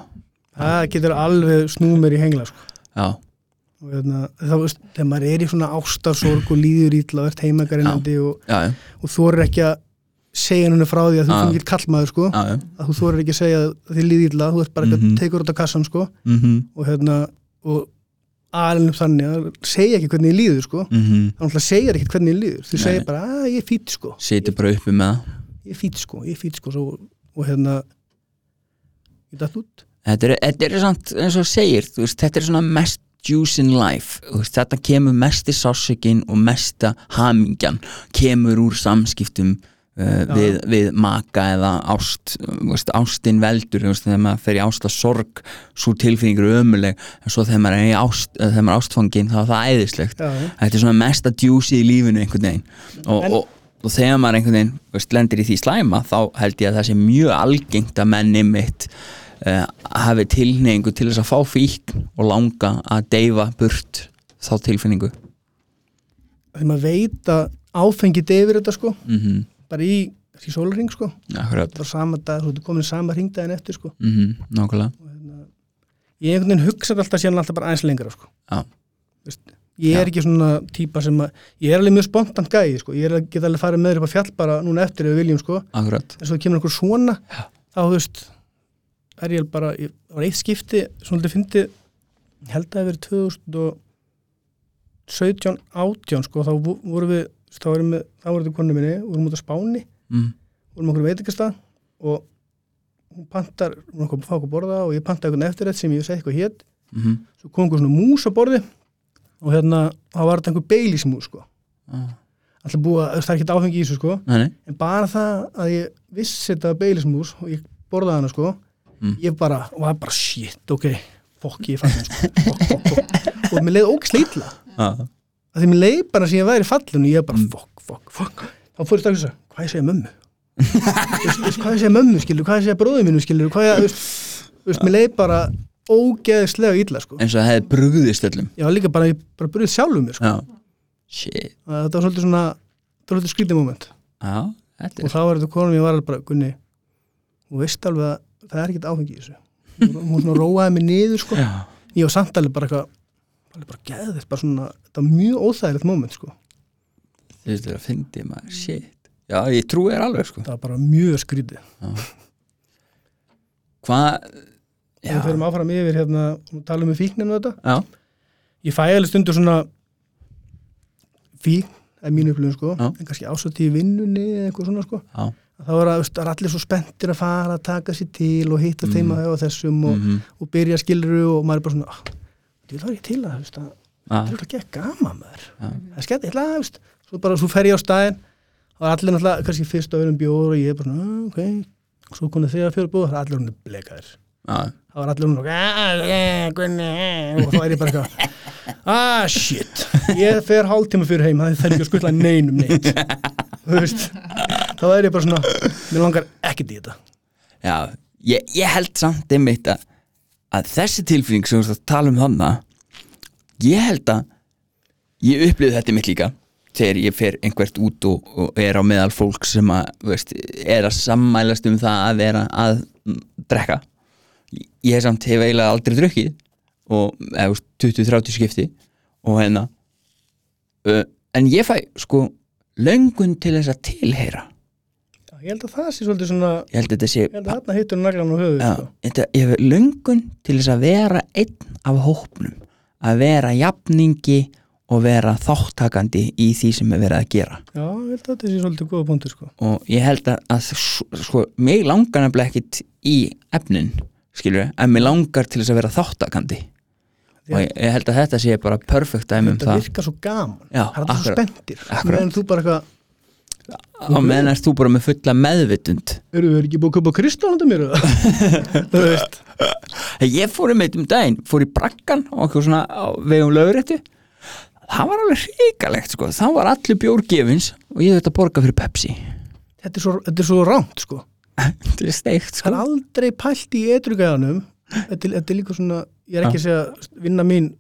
[SPEAKER 2] það getur alveg snúið mér í hengla sko.
[SPEAKER 1] já,
[SPEAKER 2] og hérna, þá veist, þegar maður er í svona ástarsorg og líður ítla og ert heimagarinnandi og,
[SPEAKER 1] já, já,
[SPEAKER 2] og þú er ekki að segja henni frá því að þú
[SPEAKER 1] Já.
[SPEAKER 2] er ekki kallmaður sko,
[SPEAKER 1] já, já.
[SPEAKER 2] að þú þorir ekki að segja að þið líður ítla, þú ert bara ekki
[SPEAKER 1] Ah. Mhm.
[SPEAKER 2] að teikur út á kassan sko,
[SPEAKER 1] Mhm,
[SPEAKER 2] og hérna og alveg þannig að segja ekki hvernig ég líður sko,
[SPEAKER 1] mhm.
[SPEAKER 2] það náttúrulega segja ekki hvernig "Ah, ég líður, þú
[SPEAKER 1] Nei,
[SPEAKER 2] segir
[SPEAKER 1] nei.
[SPEAKER 2] bara að ég er fít sko,
[SPEAKER 1] situr bara uppi með það
[SPEAKER 2] ég er fít sko, ég er fít sko svo og hérna ég dætt út
[SPEAKER 1] þetta er, þetta er samt eins og þú segir þú veist, þetta er svona mest juice in life Þú veist, þetta kemur mesti sásökin og mesta hamingjan kemur úr samskiptum uh, við, við maka eða ást uh, þú veist, ástin veldur þú veist, þegar maður fer í ásta sorg svo tilfinningur er ömuleg en svo þegar maður er, í ást, eh, þegar maður er ástfangin þá er það æðislegt
[SPEAKER 2] já, já.
[SPEAKER 1] þetta er svona mesta djúsi í lífinu einhvern veginn og,
[SPEAKER 2] En-
[SPEAKER 1] og, og þegar maður einhvern veginn þú veist, lendir í því slæma þá held ég að það sé mjög algengt að menni mitt uh, hafi tilneyingu til þess að fá fíkn og langa að deyfa burt þá tilfinningu
[SPEAKER 2] þegar maður veit að áfengið deyfir þetta sko
[SPEAKER 1] mm -hmm.
[SPEAKER 2] bara í, í sólring sko
[SPEAKER 1] Akkurat
[SPEAKER 2] þetta var sama dag, þú ert komin sama hringdæðin eftir sko
[SPEAKER 1] mm -hmm. Nákvæmlega
[SPEAKER 2] og hérna, ég einhvern veginn hugsaði alltaf síðan alltaf bara aðeins lengra sko
[SPEAKER 1] Já.
[SPEAKER 2] Veist, ég
[SPEAKER 1] Já.
[SPEAKER 2] er ekki svona típa sem að ég er alveg mjög spontant gæði sko ég er að geta alveg farið með þér upp á fjall bara núna eftir ef við viljum sko,
[SPEAKER 1] Akkurat
[SPEAKER 2] en svo kemur einhver svona
[SPEAKER 1] Já.
[SPEAKER 2] þá þú veist er ég bara, ég það var eitt skipti svona þetta fyndi, ég held að það hafi verið 2017 18 sko, þá vo- vorum við þá vorum við, þá vorum við konu minni vorum út á Spáni
[SPEAKER 1] mm.
[SPEAKER 2] vorum okkur veitingastað og hún pantar, hún okkur fá okkur að borða og ég pantaði einhvern eftirrætt sem ég segi eitthvað hétt
[SPEAKER 1] Mm
[SPEAKER 2] svo kom einhver svona mús á borði og hérna, þá var þetta einhver beilismús sko,
[SPEAKER 1] Ah.
[SPEAKER 2] alltaf búa það er ekkert áfengi í þessu sko,
[SPEAKER 1] Nei,
[SPEAKER 2] en bara það að ég vissi þetta var beilismús og ég borðaði hana sko
[SPEAKER 1] Mm.
[SPEAKER 2] ég bara, var bara shit, ok fokk, ég fann hann sko fokk, fokk, fokk. og mér leið ógislega illa
[SPEAKER 1] ah.
[SPEAKER 2] að því mér leið bara sem ég væri fallin og ég bara fokk, fokk, fokk þá fór ég strax þess að, hvað ég segja mömmu Þú veist, hvað ég segja mömmu skilur, hvað ég segja bróðu mínu skilur hvað ég, þú veist, þú veist, mér leið bara ógeðislega illa sko
[SPEAKER 1] eins og það hefði brugðist öllum
[SPEAKER 2] ég var líka bara, ég bara burðið sjálfum mér sko
[SPEAKER 1] Já Shit
[SPEAKER 2] að þetta var svolítið svona, þetta var svolítið skrítið moment
[SPEAKER 1] Já, þetta
[SPEAKER 2] og
[SPEAKER 1] er
[SPEAKER 2] þá var þetta konum ég var alveg bara, Gunni þú veist alveg að það er ekkert áfengi í þessu hún hún svona róaði mig niður sko
[SPEAKER 1] Já,
[SPEAKER 2] ég var samt alveg bara eitthvað alveg bara geðið, bara svona, þetta var mjög óþægilegt moment sko,
[SPEAKER 1] þú veist það að fyndi maður Shit Já, ég trúi þér alveg sko
[SPEAKER 2] það var bara mjög skrítið
[SPEAKER 1] Hvað
[SPEAKER 2] við förum áfram yfir hérna og talum við fíkninu þetta
[SPEAKER 1] Já,
[SPEAKER 2] ég fæ alveg stundur svona fíkn, það er mín upplifun sko
[SPEAKER 1] Já.
[SPEAKER 2] en kannski ásætti í vinnunni eða eitthvað svona sko
[SPEAKER 1] já
[SPEAKER 2] þá er, að, veist, það er allir svo spenntir að fara að taka sér til og hitta
[SPEAKER 1] Mhm.
[SPEAKER 2] þeim að hefa þessum og,
[SPEAKER 1] Mhm.
[SPEAKER 2] og byrja skiluru og maður er bara svona ah, þú þarf ég til að, þú veist, að
[SPEAKER 1] Já,
[SPEAKER 2] það er ekki gaman maður
[SPEAKER 1] Ah. Já.
[SPEAKER 2] það er skemmt, ég ætla að, þú veist svo bara, svo fer ég á staðinn og allir náttúrulega, kannski fyrst á öðrum bjóður og ég er bara svona, "Ah, ok, svo konið þegar fjóra bjóður, það er allir hún blekaðir
[SPEAKER 1] já
[SPEAKER 2] þá var allir "Ah, hún og og þá er ég bara eitthvað ah shit ég fer hálftíma fyrir heim það er ekki að skutla neinum neitt þú veist þá er ég bara svona mér langar ekkert í þetta
[SPEAKER 1] Já, ég, ég held samt einmitt að, að þessi tilfinning sem við erum að tala um þarna ég held að ég upplifði þetta mitt líka þegar ég fer einhvert út og, og er á meðal fólk sem að, þú veist, er að sammælast um það að vera að mm, drekka Ég- ég samt hef eiginlega aldrei drukkið og eða, þú veist, 20-30 skipti og hérna uh, en ég fæ sko löngun til þess að tilheyra
[SPEAKER 2] ég held að það sé svolítið svona
[SPEAKER 1] ég held að þetta sé
[SPEAKER 2] ég held að þarna hittur naglan á höfuð
[SPEAKER 1] Já,
[SPEAKER 2] sko.
[SPEAKER 1] þetta, ég hef löngun til þess að vera einn af hópnum að vera jafningi og vera þáttakandi í því sem er verið að gera
[SPEAKER 2] já, ég held að þetta sé svolítið góða punktur sko.
[SPEAKER 1] og ég held að, að s- sko, mig langar nefnilega ekkit í efnin skilur, en mig langar til þess að vera þáttakandi og ég, ég held að þetta sé bara perfekt dæmi um
[SPEAKER 2] þetta
[SPEAKER 1] það
[SPEAKER 2] virkar svo gaman
[SPEAKER 1] Já,
[SPEAKER 2] það er allir svo
[SPEAKER 1] akkurat.
[SPEAKER 2] spenntir
[SPEAKER 1] Akkurat.
[SPEAKER 2] en þú bara eitthvað,
[SPEAKER 1] og menn erst þú bara með fulla meðvitund
[SPEAKER 2] eru þau ekki búið að köpa kristall handa mér eða?" þú veist
[SPEAKER 1] ég fór um eitt um daginn, fór í brakkan og okkur svona á vegum löguréttu það var alveg hrikalegt sko það var allir bjórgefins og ég þetta borga fyrir Pepsi
[SPEAKER 2] þetta er svo, þetta er svo rámt sko
[SPEAKER 1] þetta er steikt
[SPEAKER 2] það
[SPEAKER 1] sko
[SPEAKER 2] er aldrei pælt í etrugaðanum þetta, er- þetta er líka svona ég er ekki að segja vinna mín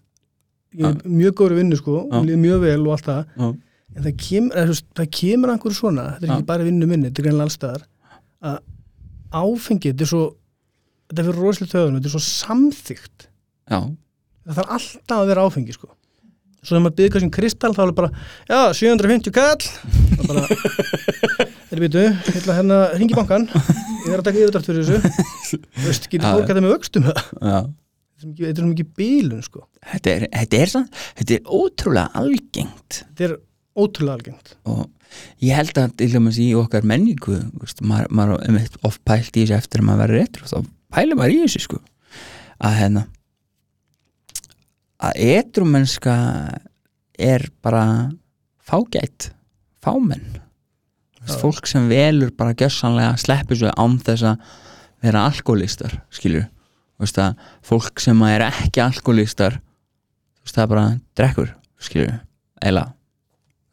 [SPEAKER 2] ég er mjög góður í vinnu sko
[SPEAKER 1] Já.
[SPEAKER 2] og líður mjög vel og allt það
[SPEAKER 1] Já.
[SPEAKER 2] en það kemur, eða, þú veist, það kemur einhver svona þetta er
[SPEAKER 1] Já.
[SPEAKER 2] ekki bara í vinnu minni, þetta er greinlega allstaðar að áfengi, þetta er svo þetta er fyrir rosalega töðunum, þetta er svo samþygt
[SPEAKER 1] já,
[SPEAKER 2] það þarf alltaf að vera áfengi sko svo þegar maður byrði kannski um kristall þá er bara já, 750 kall og bara, þeir býtu ég ætla að hérna ringi bankan ég er að taka yfirdrátt fyrir þessu Þú veist, getur
[SPEAKER 1] Já, já.
[SPEAKER 2] fólk þetta með vöxtum það
[SPEAKER 1] já.
[SPEAKER 2] Þetta er svo mikið- þetta er svo mikið bílun sko
[SPEAKER 1] Þetta, er, þetta er sann þetta er ótrúlega algengt
[SPEAKER 2] þetta er ótrúlega algengt
[SPEAKER 1] og ég held að til dæmis í okkar menningu þú veist, maður, maður um eitt oft pælt í þessu eftir að maður verið retro þá pælir maður í þessu sko að hérna að etrumennska er bara fágætt fámenn Þú veist,
[SPEAKER 2] Já.
[SPEAKER 1] fólk sem velur bara gjössanlega sleppur svo án þess að vera alkoholistar skilur Þú veist, að fólk sem er ekki alkoholistar þú veist, það er bara drekkur skilur eila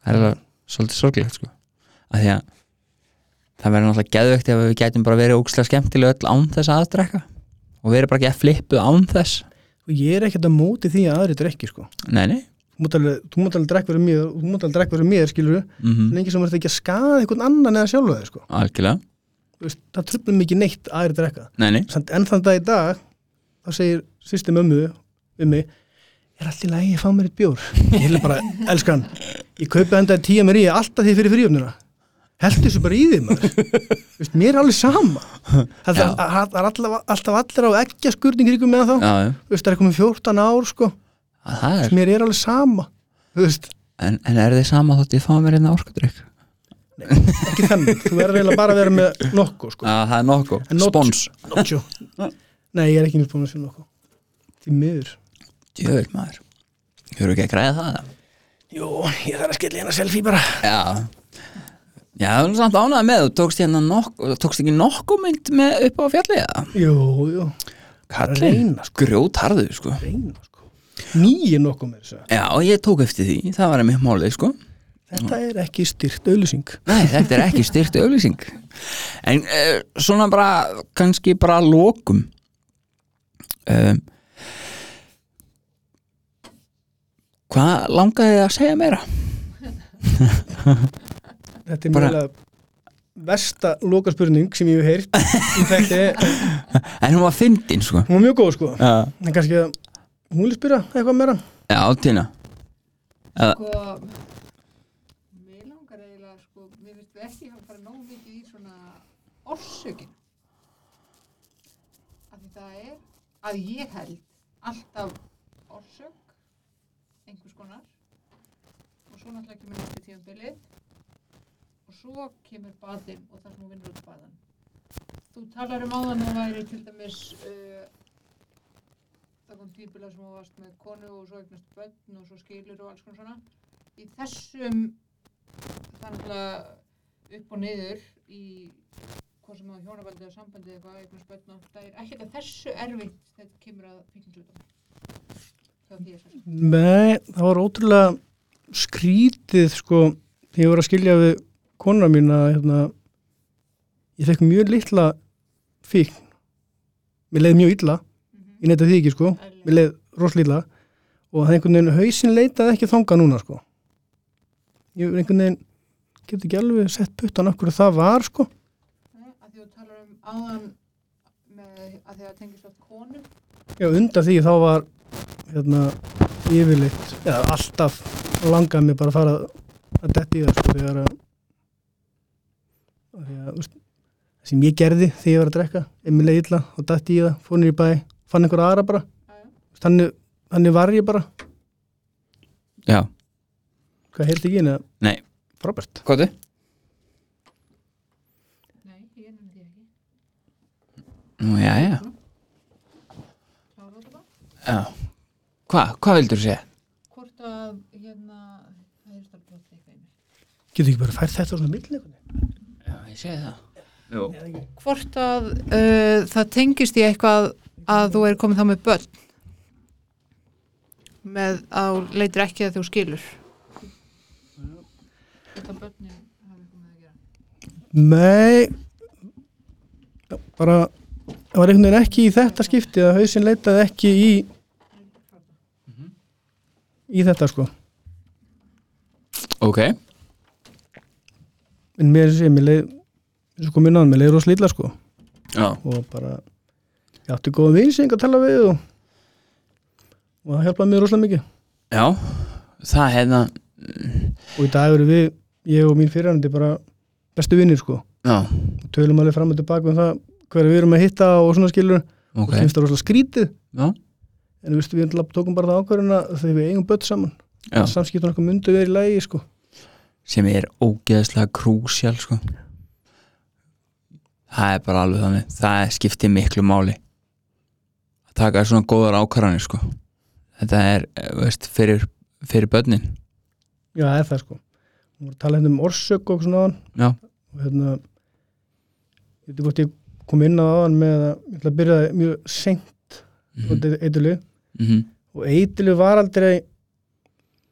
[SPEAKER 1] það er alveg svolítið sorglegt sko að því að það verður náttúrulega geðvögt ef við gætum bara verið ókslega skemmtilega öll án þess að drekka og verið bara ekki að flippu án þess
[SPEAKER 2] og ég er ekkert að móti því að aðri drekki sko.
[SPEAKER 1] nei, nei,
[SPEAKER 2] þú mátt alveg, þú mátt alveg drekk verið mér og þú mátt alveg drekk verið mér skilur
[SPEAKER 1] mm
[SPEAKER 2] en engi sem verður ekki að skaða einhvern annan eða sjálfa þig sko.
[SPEAKER 1] algjörlega
[SPEAKER 2] Þú veist, það tröflum ekki neitt að aðri drekka
[SPEAKER 1] nei, nei,
[SPEAKER 2] Samt enn þann dag í dag þá segir sýsti mömmu um mig er allt í lagi að fá mér eitt bjór ég vil bara, elskan ég kaupi enda tíu mér í alltaf því fyrir fríumnuna heldur þessu bara í því maður Þú veist, mér er alveg sama það,
[SPEAKER 1] Já.
[SPEAKER 2] það, það, það er alltaf, alltaf allir á ekki að skurning ríkum með þá
[SPEAKER 1] já, já,
[SPEAKER 2] Þú veist, það er komið 14 ár sko
[SPEAKER 1] að það er
[SPEAKER 2] mér er alveg sama Þú veist,
[SPEAKER 1] en, en er þið sama þótt ég fá mér hérna orkudrykk
[SPEAKER 2] ekki þannig, þú verður eiginlega bara að vera með nokku sko,
[SPEAKER 1] að það er nokku,
[SPEAKER 2] En not-
[SPEAKER 1] spons
[SPEAKER 2] nokkjó nei, ég er ekki nýtt búin að sjá nokku því miður
[SPEAKER 1] djöður maður, hefur ekki að græða það eða?
[SPEAKER 2] Jú, ég þarf að skella hérna selfie bara
[SPEAKER 1] já já, það er samt ánægð með þú tókst, hérna nokku, tókst ekki nokku mynd með upp á fjallið eða?
[SPEAKER 2] Jú, jú,
[SPEAKER 1] kallinn,
[SPEAKER 2] Reyna,
[SPEAKER 1] grjótarður sko
[SPEAKER 2] reyna sko Nýju nokkuð með þessu
[SPEAKER 1] Já, ég tók eftir því, það var einmitt málið sko
[SPEAKER 2] Þetta er ekki styrt auðlýsing
[SPEAKER 1] Nei, þetta er ekki styrkt auðlýsing En uh, svona bara kannski bara að lokum um, Hvað langaði þið að segja meira?
[SPEAKER 2] Þetta er
[SPEAKER 1] Bara-
[SPEAKER 2] mjög versta loka spurning sem ég hef heyrt Í þekki,
[SPEAKER 1] En hún var fyndin sko
[SPEAKER 2] Hún var mjög góð sko
[SPEAKER 1] Já,
[SPEAKER 2] En kannski að hún vil spyrja eitthvað meira
[SPEAKER 1] já Tina
[SPEAKER 3] sko mér langar eiginlega sko, mér finnst við ekki hafa farið nóg mikið í svona orsökin af því það er að ég held alltaf orsök einhvers konar og svo náttúrulega kemur næstu tíðanbilið og svo kemur badin og það sem hún vinnur út á badan þú talar um áðan og væri til dæmis uh, það kom tíbila sem þú varst með konu og svo eignast börn og svo skilur og alls konar svona í þessum þannig að upp og niður í hvað sem á hjónabandi eða sambandi eða eitthvað eignast börn og það er ekkert að þessu erfitt þegar kemur að fíknislutum það því að þessu
[SPEAKER 2] Nei, það var ótrúlega skrítið sko þegar ég var að skilja við konuna mín að hérna, ég fekk mjög litla fíkn Mér leið mjög illa
[SPEAKER 3] Mhm.
[SPEAKER 2] Ég neyta því ekki sko Mér leið rosalítla og það einhvern veginn hausin leitaði ekki þanga núna sko ég einhvern veginn get ekki alveg sett puttan af hverju það var sko
[SPEAKER 3] Nei, að því þú talar um áðan með að því að tengist að konu
[SPEAKER 2] já undan því þá var hérna yfirleitt eða alltaf langaði mér bara að fara að detti í það sko þegar að af því að, þú veist, það sem ég gerði þegar ég var að drekka emileg illa og detti í það, fór niður í bæ fann einhver aðra bara
[SPEAKER 3] Jæja.
[SPEAKER 2] Þú veist, þannig, þannig var ég bara
[SPEAKER 1] Já,
[SPEAKER 2] hvað heyrði ekki inn að
[SPEAKER 1] nei,
[SPEAKER 2] Robert
[SPEAKER 1] hvað þið?
[SPEAKER 3] nei, ég nefndi því ekki
[SPEAKER 1] Nú, já, já,
[SPEAKER 3] klára þetta bara
[SPEAKER 1] já Hvað, hvað vildur þú segja?
[SPEAKER 3] hvort að hérna það er stort brotið eitthvað í mér.
[SPEAKER 2] getur ekki bara fært þetta á svona millin einhvern veginn
[SPEAKER 1] Já, ég segi það Jú,
[SPEAKER 3] hvort að uh, það tengist í eitthvað að þú er komið þá með börn með að þú leitir ekki að þú skilur þetta börnin hafi eitthvað með að gera
[SPEAKER 2] Nei bara það var einhvern veginn ekki í þetta skipti að hausinn leitaði ekki í í þetta sko
[SPEAKER 1] ok
[SPEAKER 2] en mér sé, mér leið eins og kom inn á það, mér leið rosa illa sko
[SPEAKER 1] Já,
[SPEAKER 2] og bara, ég átti góða vinsing að tala við og og það hjálpaði mér rosa mikið
[SPEAKER 1] já Það hérna. hefða,
[SPEAKER 2] og í dag eru við, ég og mín fyrirhandi bara bestu vinnir sko
[SPEAKER 1] já,
[SPEAKER 2] og tölum alveg fram og tilbaka um það hverja við erum að hitta og svona skilur og
[SPEAKER 1] ok
[SPEAKER 2] finnst það rosa skrítið
[SPEAKER 1] Já,
[SPEAKER 2] en við, veistu, við náttúrulega tókum bara það ákvörðuna þegar við eigum börn saman
[SPEAKER 1] já
[SPEAKER 2] samskiptum okkur myndu verið í lægi sko
[SPEAKER 1] sem er ógeðslega krúsjál sko. það er bara alveg þannig það skiptir miklu máli að taka svona góðar ákvarðanir sko. þetta er eh, veist, fyrir, fyrir börnin
[SPEAKER 2] Já, það er það sko Hún var að tala hérna um orsök og svona áðan
[SPEAKER 1] Já.
[SPEAKER 2] og hérna ég veit ekki hvort ég kom inn á áðan með að ég ætla að byrja það mjög seint mm
[SPEAKER 1] Mhm.
[SPEAKER 2] -hmm. eitilu
[SPEAKER 1] mm -hmm.
[SPEAKER 2] og eitilu var aldrei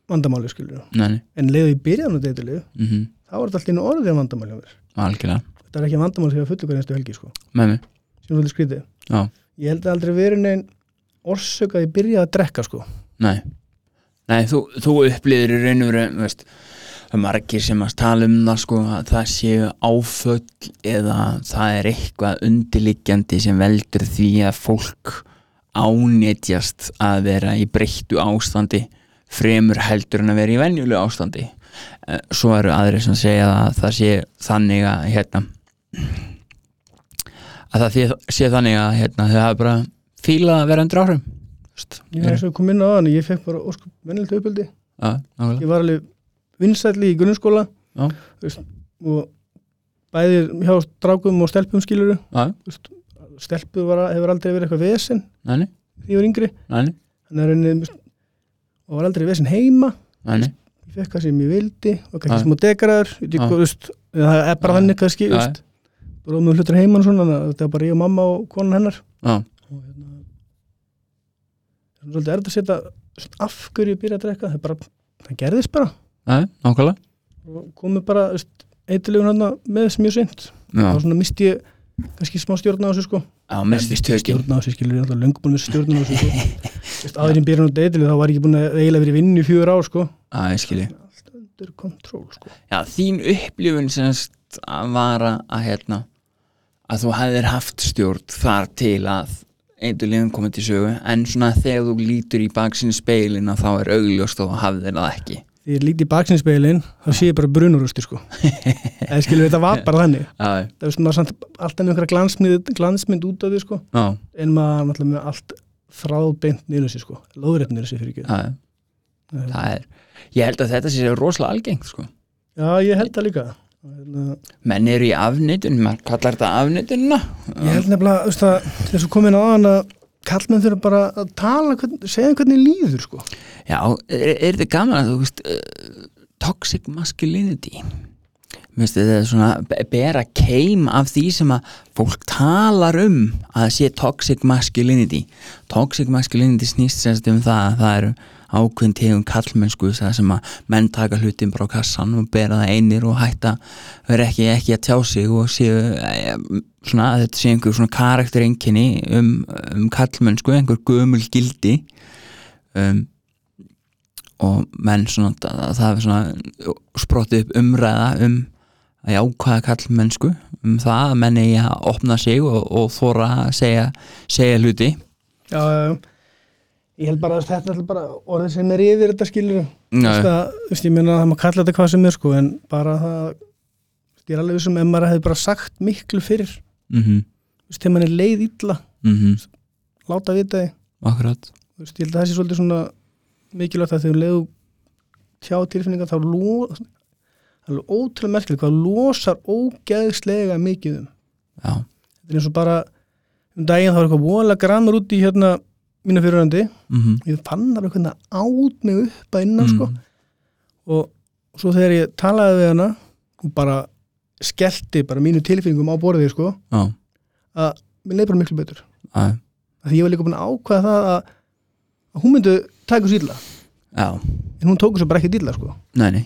[SPEAKER 2] vandamáli skilur
[SPEAKER 1] Nei,
[SPEAKER 2] en leiðu ég byrjaði á eitilu
[SPEAKER 1] mm -hmm.
[SPEAKER 2] þá var þetta alltaf einu orðið vandamáli á mér
[SPEAKER 1] algjörlega
[SPEAKER 2] þetta er ekki vandamáli þegar fullu hver einstu helgi sko
[SPEAKER 1] með mig
[SPEAKER 2] sem er svolítið skrítið
[SPEAKER 1] Já.
[SPEAKER 2] ég held að aldrei verið neinn orsök að ég byrjaði að drekka sko
[SPEAKER 1] Nei, Nei þú, þú upplýður í raun og veru veist, það er margir sem að tala um það sko, að það séu áföll eða það er eitthvað undirliggjandi sem veldur því að fólk ánetjast að vera í breyttu ástandi fremur heldur en að vera í venjulegu ástandi Eh, svo eru aðrir sem segja að það sé þannig að hérna að það sé- sé þannig að hérna, þau hafa bara fíla að vera undir áhrifum þú veist.
[SPEAKER 2] ég, eins og ég kom inn á áðan ég fekk bara óskup mennilegt uppbyldi
[SPEAKER 1] Já, nákvæmlega
[SPEAKER 2] ég var alveg vinsælli í grunnskóla
[SPEAKER 1] Já.
[SPEAKER 2] Þú veist, og bæði hjá strákum og stelpum skiluru
[SPEAKER 1] Já,
[SPEAKER 2] stelpu var, hefur aldrei verið eitthvað vesen
[SPEAKER 1] næni,
[SPEAKER 2] því ég var yngri
[SPEAKER 1] næni,
[SPEAKER 2] Þannig að reyni, þú veist, og var aldrei vesen heima
[SPEAKER 1] næni
[SPEAKER 2] ég fekk það sem ég vildi og
[SPEAKER 1] Já.
[SPEAKER 2] kannski smá degraður ég veit
[SPEAKER 1] Já.
[SPEAKER 2] ekki, þú veist, eða það er bara
[SPEAKER 1] Já.
[SPEAKER 2] þannig kannski
[SPEAKER 1] Já.
[SPEAKER 2] þú veist, bara með hlutur heima og svona þannig að þetta var bara ég og mamma og konan hennar
[SPEAKER 1] Já,
[SPEAKER 2] og hérna það er svolítið erfitt að setja þú veist, af hverju ég byrja að drekka það, er bara, það gerðist bara
[SPEAKER 1] næni, nákvæmlega
[SPEAKER 2] og komið bara eitthilegun hann hérna með þess mjög seint
[SPEAKER 1] Já,
[SPEAKER 2] og svona misti ég kannski smá stjórn á þessu sko
[SPEAKER 1] já mesti stökin
[SPEAKER 2] stjórn á þessu skilur ég alltaf löngu búin með stjórn á þessu sko Vist, áður en byrjan á eitthilegu þá var ég ekki búin að eiginlega verið í vinnu í fjör ár sko
[SPEAKER 1] Já, ég skilji
[SPEAKER 2] alltaf undir kontról sko
[SPEAKER 1] Já, þín upplifun semst að vara að hérna að þú hefðir haft stjórn þar til að eindur liðum komið til sögu en svona þegar þú lítur í baksinn speilin að þá er augljóst og hafðir það ekki
[SPEAKER 2] því ég líti í baksinspegilin þá sé ég bara brunurústi sko eða skilur þetta var bara þannig
[SPEAKER 1] Já,
[SPEAKER 2] það er svona samt alltaf einhverja glansmynd, glansmynd út af því sko
[SPEAKER 1] já,
[SPEAKER 2] en maður náttúrulega með allt þráðbeint niður þessi sko lóðrétt niður þessi fyrir ekki
[SPEAKER 1] já það er Ég held að þetta sé rosalega algengt sko
[SPEAKER 2] já ég held það líka Hérna,
[SPEAKER 1] Menn eru í afnýtun, maður kallar þetta afnýtunna
[SPEAKER 2] Ég held nefnilega, þú veist að þess að komin á hann að kallmenn þurfa bara að tala, hvern, segja hvernig líður sko.
[SPEAKER 1] Já, er, er þetta gaman að þú veist uh, toxic masculinity Vistu, þetta er svona be- bera keim af því sem að fólk talar um að sé toxic masculinity toxic masculinity snýst semst um það að það eru ákveðin tegum kallmennsku það sem að menn taka hlutin bara á kassan og bera það einir og hætta vera ekki, ekki að tjá sig og séu eh, svona að þetta sé einhver svona karaktereinkenni um, um kallmennsku, einhver gömul gildi um, og menn svona það, það er svona sprottið upp umræða um að jákvæða kall mennsku um það að menn eigi að opna sig og, og þóra að segja, segja hluti
[SPEAKER 2] Já, já, já. Ég held bara að þetta er bara orðið sem er yfir þetta skilur. Þú veist
[SPEAKER 1] já,
[SPEAKER 2] að, þú veist, ég meina að það maður kalla þetta hvað sem er sko, en bara það, þú veist, ég er alveg vissum ef maður hefði bara sagt miklu fyrir, þú
[SPEAKER 1] mhm,
[SPEAKER 2] veist, þegar maður er leið illa,
[SPEAKER 1] mhm,
[SPEAKER 2] láta vita því,
[SPEAKER 1] akkurat
[SPEAKER 2] þú veist, ég held að það sé svolítið svona mikilvægt að þegar leiðu tjá tilfinningar þá lo- það er ótrúlega merkilegt hvað losar ógeðslega mikið um
[SPEAKER 1] já,
[SPEAKER 2] þetta er eins og bara um daginn þá var eitthvað vola gramur út í hérna mínu fyrirhandi,
[SPEAKER 1] mhm
[SPEAKER 2] ég fann það eitthvað að át mig upp að innan sko
[SPEAKER 1] Mm.
[SPEAKER 2] og svo þegar ég talaði við hana hún bara skellti bara mínu tilfinningum á borðið sko
[SPEAKER 1] já,
[SPEAKER 2] að mér leið bara miklu betur
[SPEAKER 1] já,
[SPEAKER 2] að því ég var líka búin að ákvaða það að, að hún myndi taka svo illa
[SPEAKER 1] já,
[SPEAKER 2] en hún tók svo bara ekki illa sko
[SPEAKER 1] nei, nei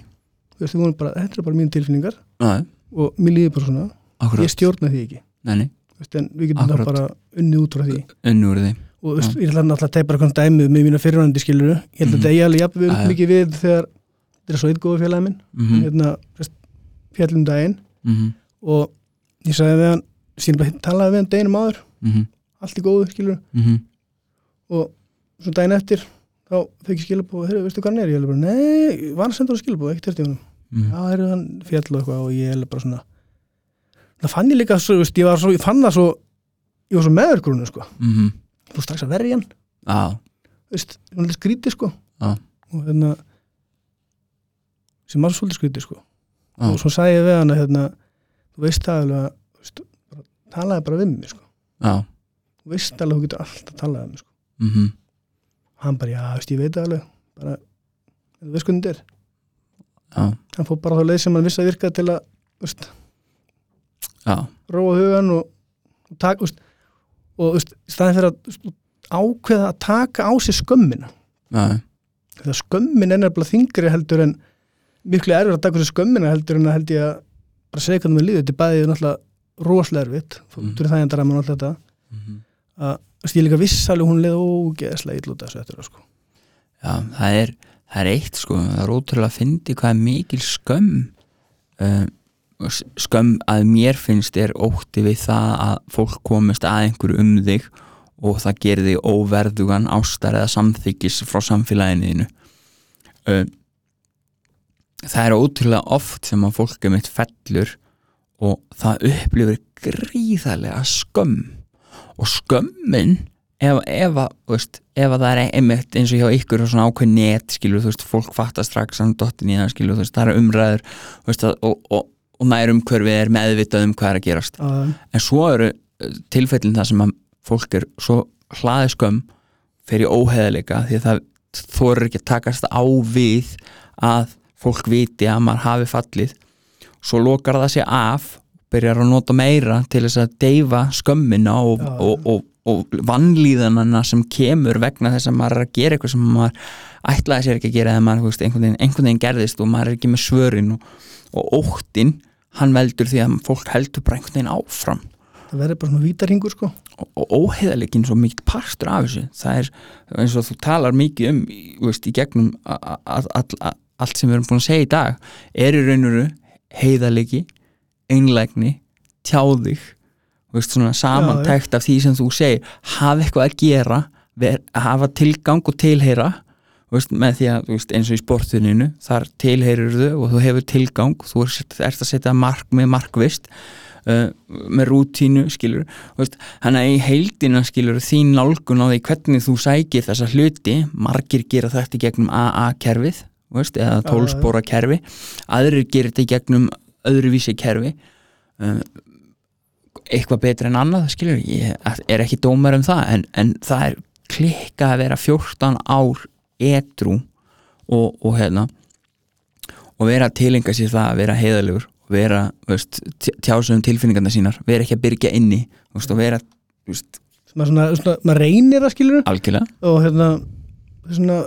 [SPEAKER 2] þú veist, hún er bara, þetta er bara mínu tilfinningar
[SPEAKER 1] já,
[SPEAKER 2] og mér líður bara svona,
[SPEAKER 1] akkurat,
[SPEAKER 2] ég stjórna því ekki
[SPEAKER 1] nei, nei,
[SPEAKER 2] Þú veist, en við getum það
[SPEAKER 1] Akkurat. Mm.
[SPEAKER 2] bara unnið út frá því
[SPEAKER 1] unnur því
[SPEAKER 2] og þú veist, ég ætla náttúrulega að teipa eitthvað dæmið með mína fyrirvændi skiluru
[SPEAKER 1] Mm.
[SPEAKER 2] ég held að þetta ég alveg jafn við
[SPEAKER 1] Já, já.
[SPEAKER 2] mikið við þegar þetta er svo eitt góðu félagi minn
[SPEAKER 1] mhm,
[SPEAKER 2] hérna þú veist, fjallum um daginn
[SPEAKER 1] mhm,
[SPEAKER 2] og ég sagði við hann síðan bara talaði við hann deginum áður
[SPEAKER 1] mhm,
[SPEAKER 2] allt í góðu skiluru
[SPEAKER 1] mhm
[SPEAKER 2] og svo daginn eftir þá fekk ég skilabóð þeirra, veistu hvað hann er? ég held bara, nei, ég var að senda hann skilabóð ekkert eftir honum
[SPEAKER 1] mhm.
[SPEAKER 2] já, þeirra hann fjall og eitthvað og ég held bara svona það fann ég líka, svo, þú veist, ég, var svo, ég fann það svo ég var svo meður grunum sko
[SPEAKER 1] mhm,
[SPEAKER 2] þú strax að verja hann
[SPEAKER 1] já,
[SPEAKER 2] þú veist, hún er skrítið sko
[SPEAKER 1] Já.
[SPEAKER 2] og þannig að sem var svolítið skrítið sko
[SPEAKER 1] Já.
[SPEAKER 2] og svo sagði ég við hana hérna, þú veist það alveg að þú veist, bara, talaði bara við mig sko.
[SPEAKER 1] Mhm, já,
[SPEAKER 2] þú veist alveg að þú getur alltaf talaði við mig sko.
[SPEAKER 1] mhm
[SPEAKER 2] hann bara, já, þú veist, ég veit það alveg bara, þú veist hvernig þetta
[SPEAKER 1] já,
[SPEAKER 2] er hann fór bara þá leið sem hann vissi að virka til að þú veist,
[SPEAKER 1] já,
[SPEAKER 2] róa hugan og, og taka þú veist, og þú veist, í staðin fyrir að þú veist, ákveða að taka á sig skömmina
[SPEAKER 1] já,
[SPEAKER 2] þegar skömmin er nefnilega þingri heldur en miklu erfur að taka þessu skömmina heldur en að held ég að bara segja hvernig mér líður þetta er bæðið náttúrulega rosalega erfitt fór
[SPEAKER 1] Mhm.
[SPEAKER 2] út úr það enda ræman alltaf þetta
[SPEAKER 1] mhm.
[SPEAKER 2] að þú veist, ég líka viss alveg hún leið ógeðslega illa út af þessu eftir á sko
[SPEAKER 1] já það er það er eitt sko, það er ótrúlega að fyndi hvað er mikil skömm um, skömm að mér finnst er ótti við það að fólk komist að einhverju um þig og það gerir þig óverðugan ástar eða samþykis frá samfélaginu þínu um, það er ótrúlega oft sem að fólk er mitt fellur og það upplifir gríðarlega skömm og skömmin ef, ef, að, þú veist, ef að það er einmitt eins og hjá ykkur og svona ákveð net skilur, þú veist, fólk fattar strax hann dottin í það skilur, þú veist, það er umræður þú veist, að, og, og, og nærum hverfið er meðvitað um hvað er að gerast
[SPEAKER 2] að
[SPEAKER 1] en svo eru eh, tilfellin það sem að fólk er svo hlaði skömm fyrir óheðleika því að það þorir ekki að takast á við að fólk viti að maður hafi fallið svo lokar það sér af byrjar að nota meira til þess að deyfa skömmina og,
[SPEAKER 2] Já, já.
[SPEAKER 1] og, og, og vannlíðanana sem kemur vegna þess að maður er að gera eitthvað sem maður ætlaði sér ekki að gera eða maður þú veist, einhvern veginn, einhvern veginn gerðist og maður er ekki með svörin og, og óttin hann veldur því að fólk heldur bara einhvern veginn áfram
[SPEAKER 2] það verður bara svona vítarhingur sko
[SPEAKER 1] og, og óheðalegin svo mikið partur af þessu það er eins og þú talar mikið um í, þú veist, í gegnum a- a- a- all- a- allt sem við erum búin að segja í dag er í raunuru heiðalegi einlægni, tjáðig þú veist, svona samantækt af því sem þú segir hafa eitthvað að gera ver, hafa tilgang og tilheyra þú veist, með því að þú veist, eins og í sportuninu þar tilheyrir þau og þú hefur tilgang þú ert, ert að setja markmið markvist uh, með rútínu skilur þú veist, þannig að í heildina skilur þín nálgun á því hvernig þú sækir þessa hluti margir gera þetta í gegnum AA-kerfið þú veist, eða
[SPEAKER 2] Já, já.
[SPEAKER 1] tólspóra kerfi aðrir gerir þetta í gegnum öðruvísi kerfi um, eitthvað betra en annað skilur, ég er ekki dómar um það en, en það er klikka að vera 14 ár edrú og, og hérna og vera að tilenga sér það að vera heiðalegur vera, veist, tjásu um tilfinningarna sínar vera ekki að byrgja inni þú veist, og vera, þú veist,
[SPEAKER 2] sem að svona, svona, maður reynir það skilur
[SPEAKER 1] algjörlega
[SPEAKER 2] og hérna það er svona,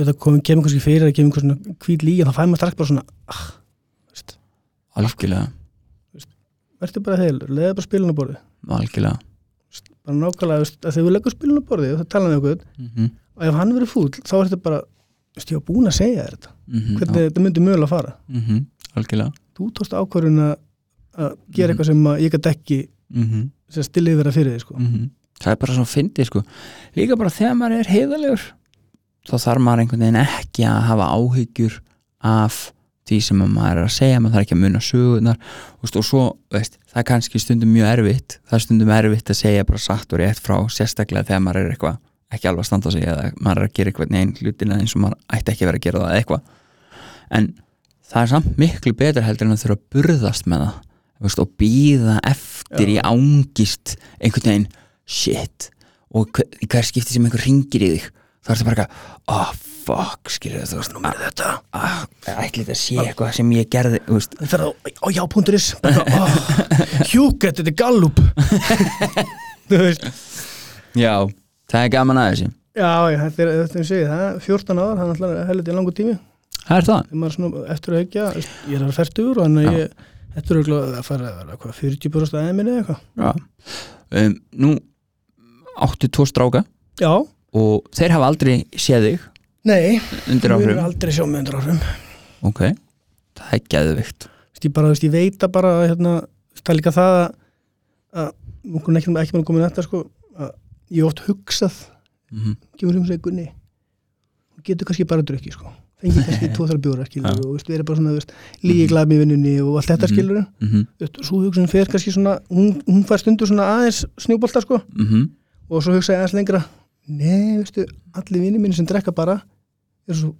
[SPEAKER 2] þetta komum, kemur kannski fyrir að kemur einhver svona hvít lígi en þá fær maður strax bara svona ah, þú veist,
[SPEAKER 1] algjörlega,
[SPEAKER 2] verður bara heilur, leiði bara spilinu borði
[SPEAKER 1] algjörlega
[SPEAKER 2] bara nákvæmlega, þú veist, að þegar við leggur spilinu borði og það tala með okkur,
[SPEAKER 1] mm -hmm.
[SPEAKER 2] og ef hann verður fúll þá er þetta bara, þú veist, ég var búin að segja þér
[SPEAKER 1] Mm,
[SPEAKER 2] þetta hvernig þetta myndi mögulega fara
[SPEAKER 1] Mhm. algjörlega
[SPEAKER 2] þú tókst ákvörðun að að gera
[SPEAKER 1] Mhm.
[SPEAKER 2] eitthvað sem að ég gæti ekki
[SPEAKER 1] mm
[SPEAKER 2] sem stillið vera fyrir þig sko
[SPEAKER 1] -hmm. það er bara svona fyndið sko líka bara þegar maður er heiðalegur þá þarf maður einhvern veginn ekki að hafa áhyggjur af því sem að maður er að segja maður þarf ekki að muna sögunar veist, og svo, veist, það er kannski stundum mjög erfitt það er stundum erfitt að segja bara satt og rétt frá sérstaklega þegar maður er eitthvað ekki alveg að standa á sig eða maður er að gera eitthvað neginn hlutina eins og maður ætti ekki að vera að gera það eða eitthvað en það er samt miklu betur heldur en að þurfa að burðast með það veist, og býða eftir í ángist einhvern veginn shit og hver, í hver skipti sem einhver ringir í þig þá er þetta bara eitthvað, oh fuck skilur þú veist, að-
[SPEAKER 2] þetta,
[SPEAKER 1] að- ætli þetta sé eitthvað sem ég gerði þú veist,
[SPEAKER 2] það er á já.is hjúkett, þetta er gallup þú veist
[SPEAKER 1] já, það er gaman að þessu
[SPEAKER 2] já, já, þetta er þetta er að segja, það er 14 ára það er alltaf heldur í langu tími
[SPEAKER 1] það er það,
[SPEAKER 2] þegar maður er svona eftir að hegja ég er að fært úr og þannig að ég þetta er örugglega að fara að vera hvað 40% aðeins minni eða eitthvað
[SPEAKER 1] já um, nú áttu tvo stráka
[SPEAKER 2] já,
[SPEAKER 1] og þeir hafa aldrei séð þig
[SPEAKER 2] nei,
[SPEAKER 1] undir
[SPEAKER 2] við erum
[SPEAKER 1] áhrifum,
[SPEAKER 2] aldrei sjá með 100 árum
[SPEAKER 1] ok það er geðvikt
[SPEAKER 2] Vist, ég, bara, vist, ég veit að bara hérna, það er líka það að, að okkur er ekki, ekki með að koma inn þetta sko, að ég hef oft hugsað
[SPEAKER 1] mm -hmm.
[SPEAKER 2] kemur um sig Gunni hún getur kannski bara að drukki sko fengið kannski tvo þar bjóra skilur
[SPEAKER 1] Já.
[SPEAKER 2] og veist, verið bara svona veist, lígi glæmi í vinnunni og allt þetta
[SPEAKER 1] Mhm.
[SPEAKER 2] skilur
[SPEAKER 1] Mm
[SPEAKER 2] veist, svo hugsun fer kannski svona hún, hún fær stundur svona aðeins snjúbolta sko
[SPEAKER 1] -hmm.
[SPEAKER 2] og svo hugsa ég aðeins lengra nei, veistu, allir vinnir minni sem drekka bara eru svo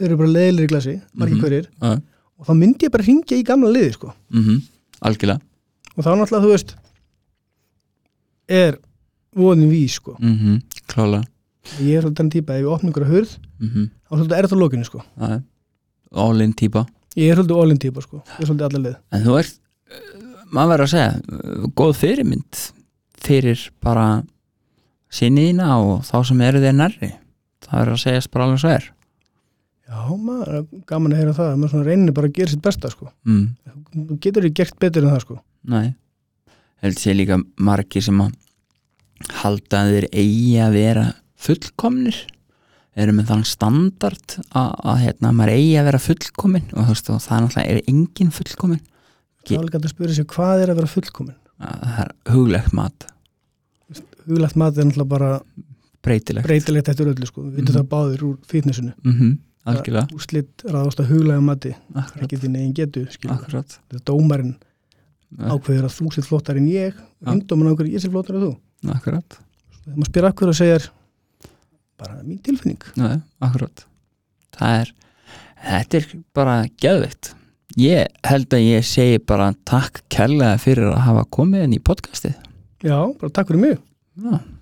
[SPEAKER 2] eru bara leiðilegir í glasi, margir
[SPEAKER 1] Mhm.
[SPEAKER 2] hverjir
[SPEAKER 1] Já.
[SPEAKER 2] og þá myndi ég bara hringja í gamla liði sko.
[SPEAKER 1] mm algjörlega
[SPEAKER 2] og þá náttúrulega þú veist er vonin víð sko.
[SPEAKER 1] mm -hmm. klálega
[SPEAKER 2] ég er svolítið þann típa ef ég opna ykkur að hurð
[SPEAKER 1] mm -hmm.
[SPEAKER 2] þá svolítið er það lókinu sko.
[SPEAKER 1] all in típa
[SPEAKER 2] ég er svolítið all-in típa sko. ég er svolítið allar lið
[SPEAKER 1] en þú ert, eh, maður verður að segja eh, góð fyrirmynd fyrir bara sinniðina og þá sem eru þér nærri það verður að segjast bara alveg svo er
[SPEAKER 2] já maður, gaman að heyra það maður svona reynir bara að gera sitt besta sko.
[SPEAKER 1] mm,
[SPEAKER 2] þú getur ekki gert betur en það sko.
[SPEAKER 1] nei held sé líka margir sem að halda að þeir eigi að vera fullkomnir eru með þann standard að, að hérna, maður eigi að vera fullkomin og, þú veist, og það er náttúrulega er engin fullkomin
[SPEAKER 2] þá er líka hægt að spyrja sig hvað er að vera fullkomin
[SPEAKER 1] Að Ah, það er huglegt mat,
[SPEAKER 2] huglegt mat er náttúrulega bara
[SPEAKER 1] breytilegt
[SPEAKER 2] breytilegt eftir öllu sko. við vitum
[SPEAKER 1] Mhm.
[SPEAKER 2] það báðir úr fitnessinu
[SPEAKER 1] mm -hmm, algjörlega,
[SPEAKER 2] úslit ráðast að huglega mati
[SPEAKER 1] akkurat,
[SPEAKER 2] ekki þín eigin getu skilur.
[SPEAKER 1] akkurat. Ah.
[SPEAKER 2] þetta er dómarinn
[SPEAKER 1] Ja.
[SPEAKER 2] ákveður að þú sér flottar en ég
[SPEAKER 1] Ja.
[SPEAKER 2] undóman ákveður að ég sér flottar en þú
[SPEAKER 1] Akkurat,
[SPEAKER 2] þegar maður spyr akkur og segir bara mín tilfinning
[SPEAKER 1] Nei, akkurat Það er, þetta er bara geðvitt Ég held að ég segi bara takk kærlega fyrir að hafa komið inn í podcastið Ah.
[SPEAKER 2] já, bara takk fyrir mig
[SPEAKER 1] Já,